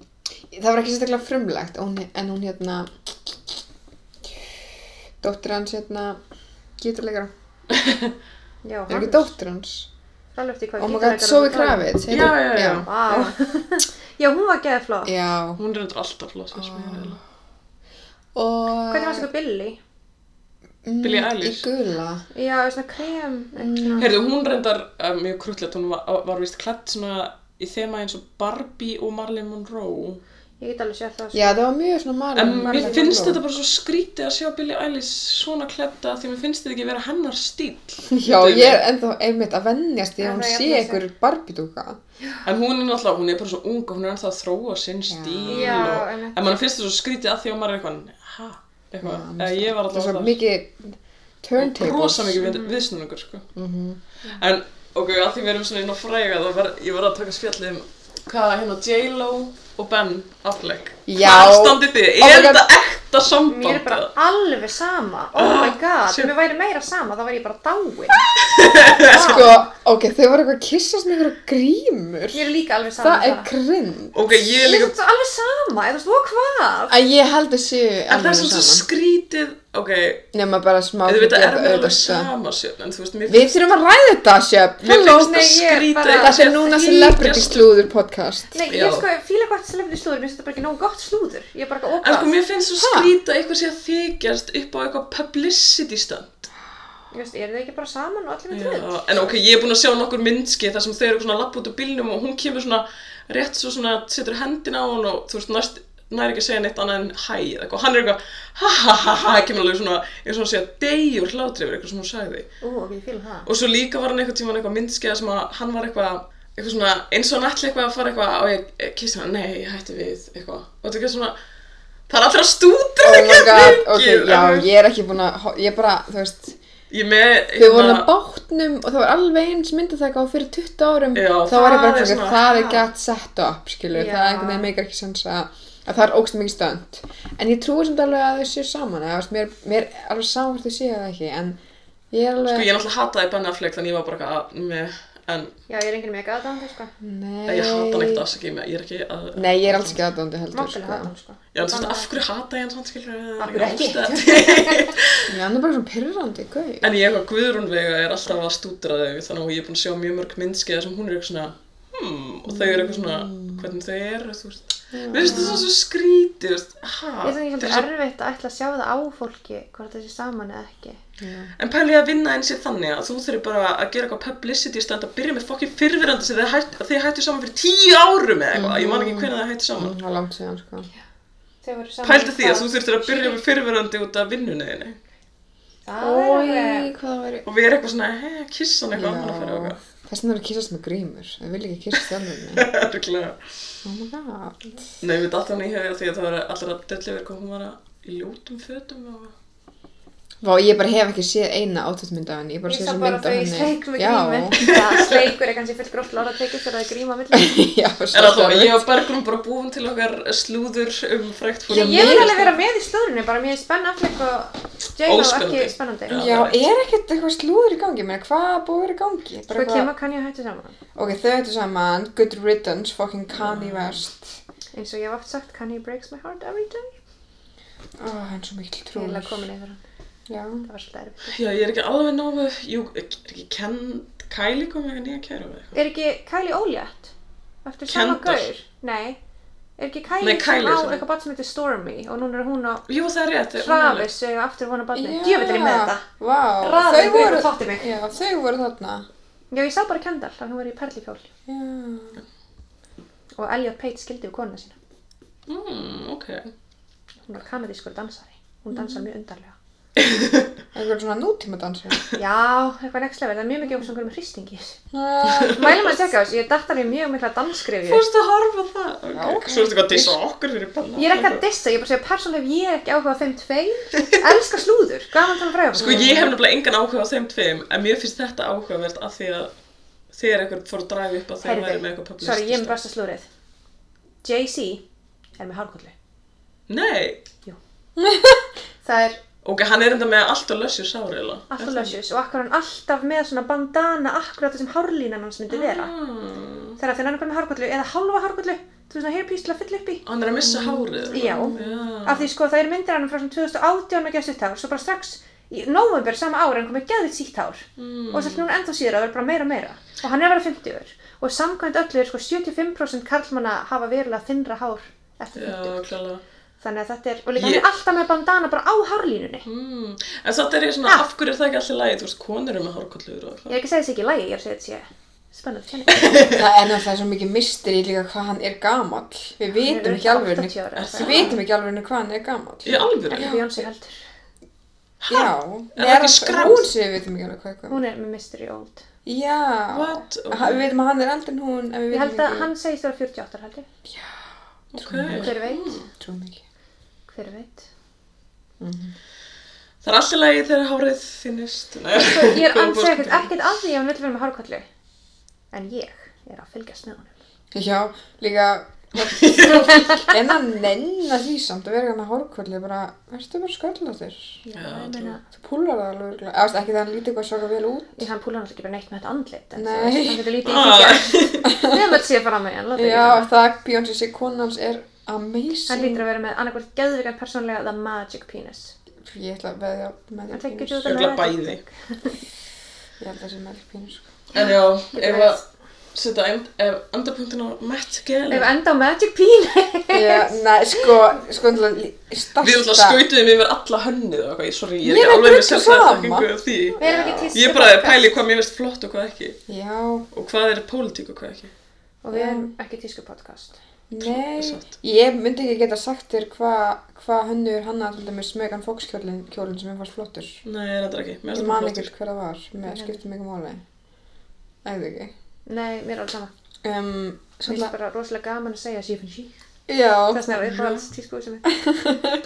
það var ekki sérstaklega frumlegt, hún, en hún hérna, dóttir hans hérna, gítarleikara,
Já,
er ekki dóttir hans?
Rálega eftir hvað
Oh my god, Zoe Kravitz,
Já, já, já.
Vá Já, hún var geða flott
Já, já.
Hún er endur alltaf flott finnst mér,
Ah.
eiginlega.
Og...
Hvernig var þetta Billy?
Mm,
Billie Eilish?
Í gula.
Já, svona krem Mm.
Heyrðu, hún reyndar um, mjög krullet, hún var, var vist klætt svona í þema eins og Barbie og Marlon Monroe
Ég get alveg sér það sko.
Já, það var mjög svona marg.
En mér finnst þetta bara svo skrítið að sjá Billie Eilish svona kletta því mér finnst þetta ekki vera hennar stíl
Já, ég er ennþá einmitt að vennjast því að
En
hún
það
sé
jafnar sig.
ykkur barbidúka.
En hún er náttúrulega, hún er bara svo ung og hún er ennþá að þróa sinn stíl
Já,
og,
einmitt.
En mann finnst það svo skrítið að því að maður er eitthvað Hæ? Eitthvað, eða ég var
Það er
alltaf
svo mikið Mhm. turntables.
Rosa mikið við, viðsnúningur, sko
Mhm.
En, ok, að því við erum svona inn á fræga þá var, ég var að taka spjallið um hvað hérna J-Lo og Ben Affleck
Já.
Hvað standið þið?
Oh my
Er
God.
þetta ekta samband?
Mér er bara
eða?
alveg sama Oh
Ah,
my god,
shit.
ef mér væri meira sama þá væri ég bara dáin
Sko, ok, þau voru eitthvað að kyssast með eitthvað grímur.
Mér er líka alveg sama
Það
með
er grind.
Ok, ég er
Ég
líka
er alveg sama, eða þú veist, og hvað?
Að ég held að séu
En það er
alveg
svona svo
saman.
skrítið, ok,
Nefna bara smá.
eða þetta
hluti
er
að
mér alveg
auðvitað.
sama sjöfn, en þú veist, mér
Við þurfum að ræða þetta, Sjöp.
Mér
Hello.
finnst
Nei,
það
ég er
skrítið
bara-
að
Þetta er núna sem Celebrity
þykjast- sko,
Slúður podcast.
Nei,
Já.
ég sko, fíla gott slefni slúður, mér finnst þetta bara ekki nógu gott slúður Ég er bara ekki
En sko,
ógast
mér finnst svo skrítið að eitthvað sé að þykjast upp á eitthvað publicity stand.
Ég veist, eru þið ekki bara saman og allir með
Já,
tröð?
en ok, ég er búin að sjá nokkur myndski þar sem þau eru svona lapp út úr bílnum og hún kemur svona rétt svo svona, setur hendina á hann og þú veist, næst, næri ekki að segja neitt annað en hæ eða eitthvað. Hann er eitthvað, ha ha ha ha, kemur alveg svona, eins og hann sé að deyjur hlátri yfir eitthvað sem hún sagði.
Ú, ok, ég fíla það
Og svo líka var hann eitthvað tíma eitthvað myndskeið sem að hann var eitthvað, eitthvað svona, eins og hann ætli eitthvað að fara eitthvað á ég kissi hann, nei, ég hætti við, eitthvað. Og þetta er eitthvað svona, það er allra stútur
Oh my god, ok, já, ég er ekki búin að, ho- ég bara, þú veist,
Ég með, hérna, sko,
þau voru á bátnum og það var alveg eins myndatæka og fyrir 20 árum,
Já,
þá var ég
það
bara fyrir,
er svona-
það er gætt set up, skilur,
Já.
það er einhvern veginn meikar ekki sens að, að það er ógst mikið stönd. En ég trúi sem alveg að þau séu saman, eða, þú veist, mér, mér er alveg saman hvort þau séu það ekki, en, Ég er alveg...
Sko, ég er alltaf hataði Ben Affleck þannig ég var bara eitthvað að, meh, en
Já, ég er enginn mega aðdáðandi, sko.
Nei.
ég hata hann ekkert afsakið með, ég er ekki að...
Nei, ég er alls ekki aðdóndi heldur.
Máttalega hata hann, sko.
Já, en þú veist, af hverju hata ég hann svona, skilur
Af hverju ekki?
Já, hann er bara svona pyrrandi, gauð.
En ég eitthvað Guðrúnvega er alltaf að stúdra þau þannig að ég er búin að sjá mjög mörg myndskeiða sem hún er eitthvað svona hmm, og þau eru eitthvað svona
Mm.
hvernig þau eru, þú veist Mér finnst þetta svo skrítið, þú veist,
Ég finnst ekki
hæ
svolítið erfitt að ætla að sjá það á fólki hvort það sé saman eða ekki.
En pæli að vinna eins og þannig að þú þurfir bara að gera eitthvað publicity í stand að byrja með fokkin fyrfirandi sem þið hætt, þið hættu saman fyrir tíu árum eða eitthvað, ég man ekki hvernig það hættu saman
Það er langt síðan, sko.
Þau voru
Mm.
saman
Pælta því
hvað?
að þú þurftir að byrja með fyrfirandi út af vinnunniðinni
Það er
Ói,
alveg-
hvað það væri...
og við erum eitthvað svona, hei, kissa hann eitthvað, hann að fara
Já.
eitthvað
Þess vegna er að kýrst með grímur. Það vil ekki kýrst þjálfurni.
Örugglega.
Oh my god.
Nei, við datt hann í höfja því að það var allra döllu verið hvað hún var að í ljótum fötum og
Vá, ég bara hef ekki séð eina átöðmynd af henni. Ég bara
Ég
séð
sá
þessi
bara
mynd af
þau
henni.
í sleik
með
Já.
Það sleikur er kannski fullt gróft lóra tekið þegar það er gríma millir.
Já,
Er
svo
það þá,
stærð.
ég og Bergrún bara búin til okkar slúður um frækt fólk.
Já,
Ég vil alveg vera með í slúðrinu, bara mér er spenn Affleck og J-Lo ekki
Óspennandi.
spennandi.
Já.
Já, er ekkert eitthvað slúður í gangi? Mér, hvað búið að vera í gangi? Bara
Svo
eitthvað-
kemur kann ég að hættu saman.
Ok, þau ættu saman, good riddance, fucking Kanye
Mm.
West.
Eins og ég hef oft sagt, Kanye breaks my heart every day.
Ó, hann er svo mikil
Ég vil
trúr.
að koma neyður hann.
Já.
Það var svolítið erfitt.
Já, ég er ekki alveg nógu, jú, er ekki Ken, Kylie kom með eitthvað nýja kæru með eitthvað.
Er ekki Kylie ólétt? Eftir sama
Kendall.
gaur? Nei. Er ekki Kylie,
Nei,
sem
Kylie
á
sem-
eitthvað barn sem heitir Stormy og núna er hún á
Jú, það er rétt.
hraðis og eiga aftur vona barni?
Já,
Djöfitt er ég með þetta.
Vá,
Raðið
þau
ykkur
voru,
upp á þáttinn mig.
já, þau voru þarna.
Já, ég sá bara Kendall, hann var í perlifjól
Já.
og Elliot Pate skildi við konuna sína.
Mm, ok.
Hún var kanadískur dansari. Hún dansar mjög undarlega.
Eitthvað svona nútíma dansar.
Já, eitthvað next level. Það er mjög mikið um svona hverjum hristingi.
Já,
Mælum að tjekka á þessu, ég datt alveg mjög mikla danskrifju.
Fórstu að horfa á það? Ok.
Já, ok.
Svo ertu hvað að dissa okkur fyrir panna.
Ég er ekki að dissa, ég er bara að segja persónulega hef ég ekki áhuga á þeim tveim. Elskar slúður, gaman tala um fræðum.
Sko, ég hef nefnilega engan áhuga á þeim tveim, en mér finnst þetta áhugavert af því að þegar eitthvað fór að dræfi upp að þeir væri með eitthvað publicist.
sorry, ég er með besta slúrið. Jay-Z er með hárkollu.
Nei.
Það er
Ok, hann er enda með allt og lössjur sári, eða?
alltaf lösjus og akkur hann alltaf með svona bandana akkurat þessum hárlínan hans myndi vera.
Ah,
Þegar þegar hann er bara með hárkollu eða hálfa hárkollu, þú veist svona hairpiece til að fylla upp í.
hann er að missa hárið. eða?
Já.
Já.
Af því sko það eru myndir af hann frá svona 2018 að gefa sitt hár, svo bara strax í november sama ára hann kom með geðið sítt hár
Mm.
og þess að núna ennþá síður að vera bara meira og meira og hann er að vera 50 og samkvæmt öllu er sko 75% karlmanna hafa verulega þinnra hár eftir 50
Já, klálega.
þannig að þetta er, og líka
Ég-
hann er alltaf með bandana bara á hárlínunni
Mm. En þetta er ég svona,
Ha?
af hverju er það ekki allir lægi? Þú veist, konur eru með hárkollur og
Ég
eitthvað.
er ekki að segja þessi ekki í lagi, ég er að segja þessi spennandi kenning.
það er náttúrulega svo mikið mystery líka hvað hann er gamall. Við vitum ekki alveg henni,
80 ára eða
við
eitthvað.
vitum ekki alveg henni hvað hann er gamall.
Í alvöru?
Ekki Beyoncé heldur.
Já.
Er það ekki skráð?
Hún sé við vitum ekki alveg hvað hann er.
Hún er með Mystery Old.
Já.
What? Ok.
Ha- Við vitum að hann er eldri en hún, en við
Ég held
vitum
að
ekki.
hann segist vera 48 ára heldur.
Ok.
Hver veit?
Trú mikið.
Hver veit?
Það er allir lægi þegar hárið þinnist. Nei.
Svo Sko, ég er ansið ekkert, ekkert að því að hann vil vera með hárkallu. En ég er að fylgjast með honum.
Já, líka, en hann nenn að því samt að vera eitthvað með hórkvöldi, bara, ertu bara sköllóttir?
Já,
Já,
ég
trú.
meina,
Þú púlar það alveg, örugglega. eða þú veist, ekki það hann lítið eitthvað svaka vel út.
ég hann púla hann ekki bara neitt með þetta andlit. En
Nei.
þú veist, hann getur lítið í
Ah.
kíkja. Við höfum að sé fram með hann, láta ekki
Já,
það.
það Beyoncé sé kona hans er amazing.
Hann lítur að vera með annarkvært geðvikan persónlega The Magic Penis.
Ég ætla að veðja með
Hann
því
tekur
pínus.
þetta
Örgulega bæði.
Ég held að það sé með því pínus. sko.
En já, ef að
veit.
setja end- ef endapunktin á Matt Gell.
Ef enda á Magic Penis.
Já, næ, sko, sko, náttúrulega, starsta.
Við alltaf skautum yfir alla hönnið og eitthvað. Ég- Sorry, ég er
Mér
ekki
er
alveg með
drullu
sjálfsæða
sama.
þekkingu af því.
Við erum ekki tísku
Ég er bara að pæli hvað mér veist flott og hvað ekki.
Já,
Og hvað er pólitík og hvað ekki.
Og við erum ekki tísku podcast.
nei,
Satt.
ég myndi ekki geta sagt þér hvað hva hönnur hann að með smögan fókskjólinn kjólinn sem hann fannst flottur.
Nei, þetta ekki. Mér
Ég
finnst
man
það
ekkert
sko.
flottur.
hver það var, með skiptum ykkur máli. Æðu ekki.
Nei, mér er alveg sama.
Um,
Mér
svona,
finnst bara rosalega gaman að segja she finn she.
já,
Þess vegna er uppáhalds tísku sem er.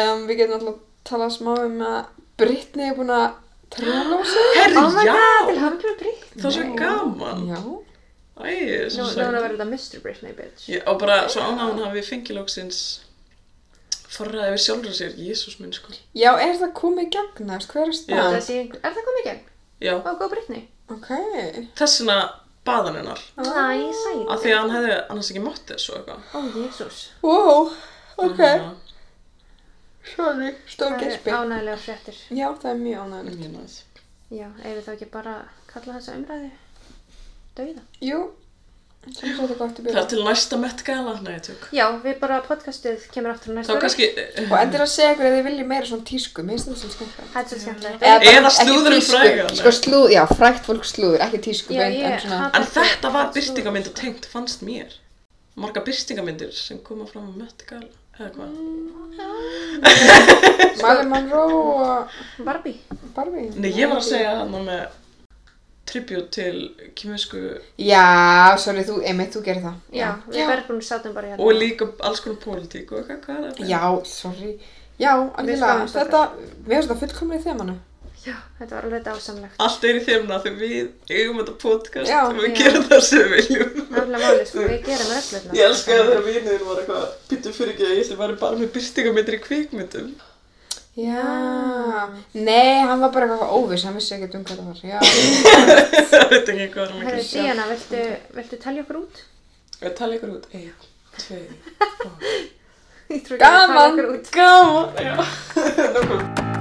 um, við getum alltaf talað smá um að Brittany er búin að trála á sig.
Oh my
Herri,
god, til
já!
hafa mjög breytt.
Það er svo gaman.
Já.
Æ, svo
Nú
sætt.
er það verið að Mr. Britney bitch.
Já, og bara svo ánægðan hafi fengið lóksins forraði við sjálfur sér, Jésús minn sko.
Já, er það komið í gegn þess? Hver er
Já.
staðan?
Það sé einhver- Er það komið í gegn?
Já,
Ó, góð Brittany.
Ok.
þessina baðan hennar,
Æ, sæl.
af því að hann hefði annars ekki mátt þessu og eitthvað. hérna-
Ó, Jésús.
Wow, ok.
Þannig
Sorry, stór gespi.
Ánægilega fréttir.
Já, það er mjög ánægilegt.
að- mjög næs.
Já, ef við þá ekki bara kalla þessa umræði dauða.
Jú, sem svo þetta gott í
Það er
byrjun.
til næsta metgæla, nei, tök.
Já, við bara podcastið kemur aftur á
Þá
næsta ári.
kannski, eh,
Og endur að segja ykkur að þið viljið meira svona tísku, minnst þetta sem skemmtilegt.
Það er svo skemmtilegt.
Eða, bara
Eða
ekki
slúður um
tísku,
frægan.
Sko slúð, já, frægt fólk slúður, ekki tísku
Já,
beint,
ég
en svona.
hata
en þetta
slúður.
var byrtingamynd og tengt, fannst mér. Marga byrtingamyndir sem koma fram á metgæla, eða hvað.
sko.
Malin Monroe og
Barbie.
Barbie.
Nei, ég var að segja hann með tribut til kymversku
Já, sorry, þú, einmitt, þú gerir það.
Já, við
já.
verðum sátum bara hérna.
og líka alls konar pólitík og eitthvað, hvað er það?
Já, sorry. Já, algjörlega,
sláum þetta.
þetta, við erum þetta fullkomlega í þemanu.
Já, þetta var alveg dásamlegt.
Allt er í þeimna þegar við eigum þetta podcast
Já,
og við
já.
gerum það sem við viljum.
Það er alveg máli, sko, við gerum reglurna.
Ég elska það þegar vinur var eitthvað, býttu fyrir ekki að ég ætli að vera bara með byrtingamyndir í kvikmyndum.
Já,
Ah.
nei, hann var bara eitthvað óviss, hann vissi ekkert um hvað það var. Já,
Það veit ekki hvað það er
Herri,
mikið.
Díana, viltu, viltu telja okkur út?
Ég tala ykkur út, eiga, tvei,
Ég trú ekki að tala
gaman,
okkur út.
gaman.
já. Nókuð.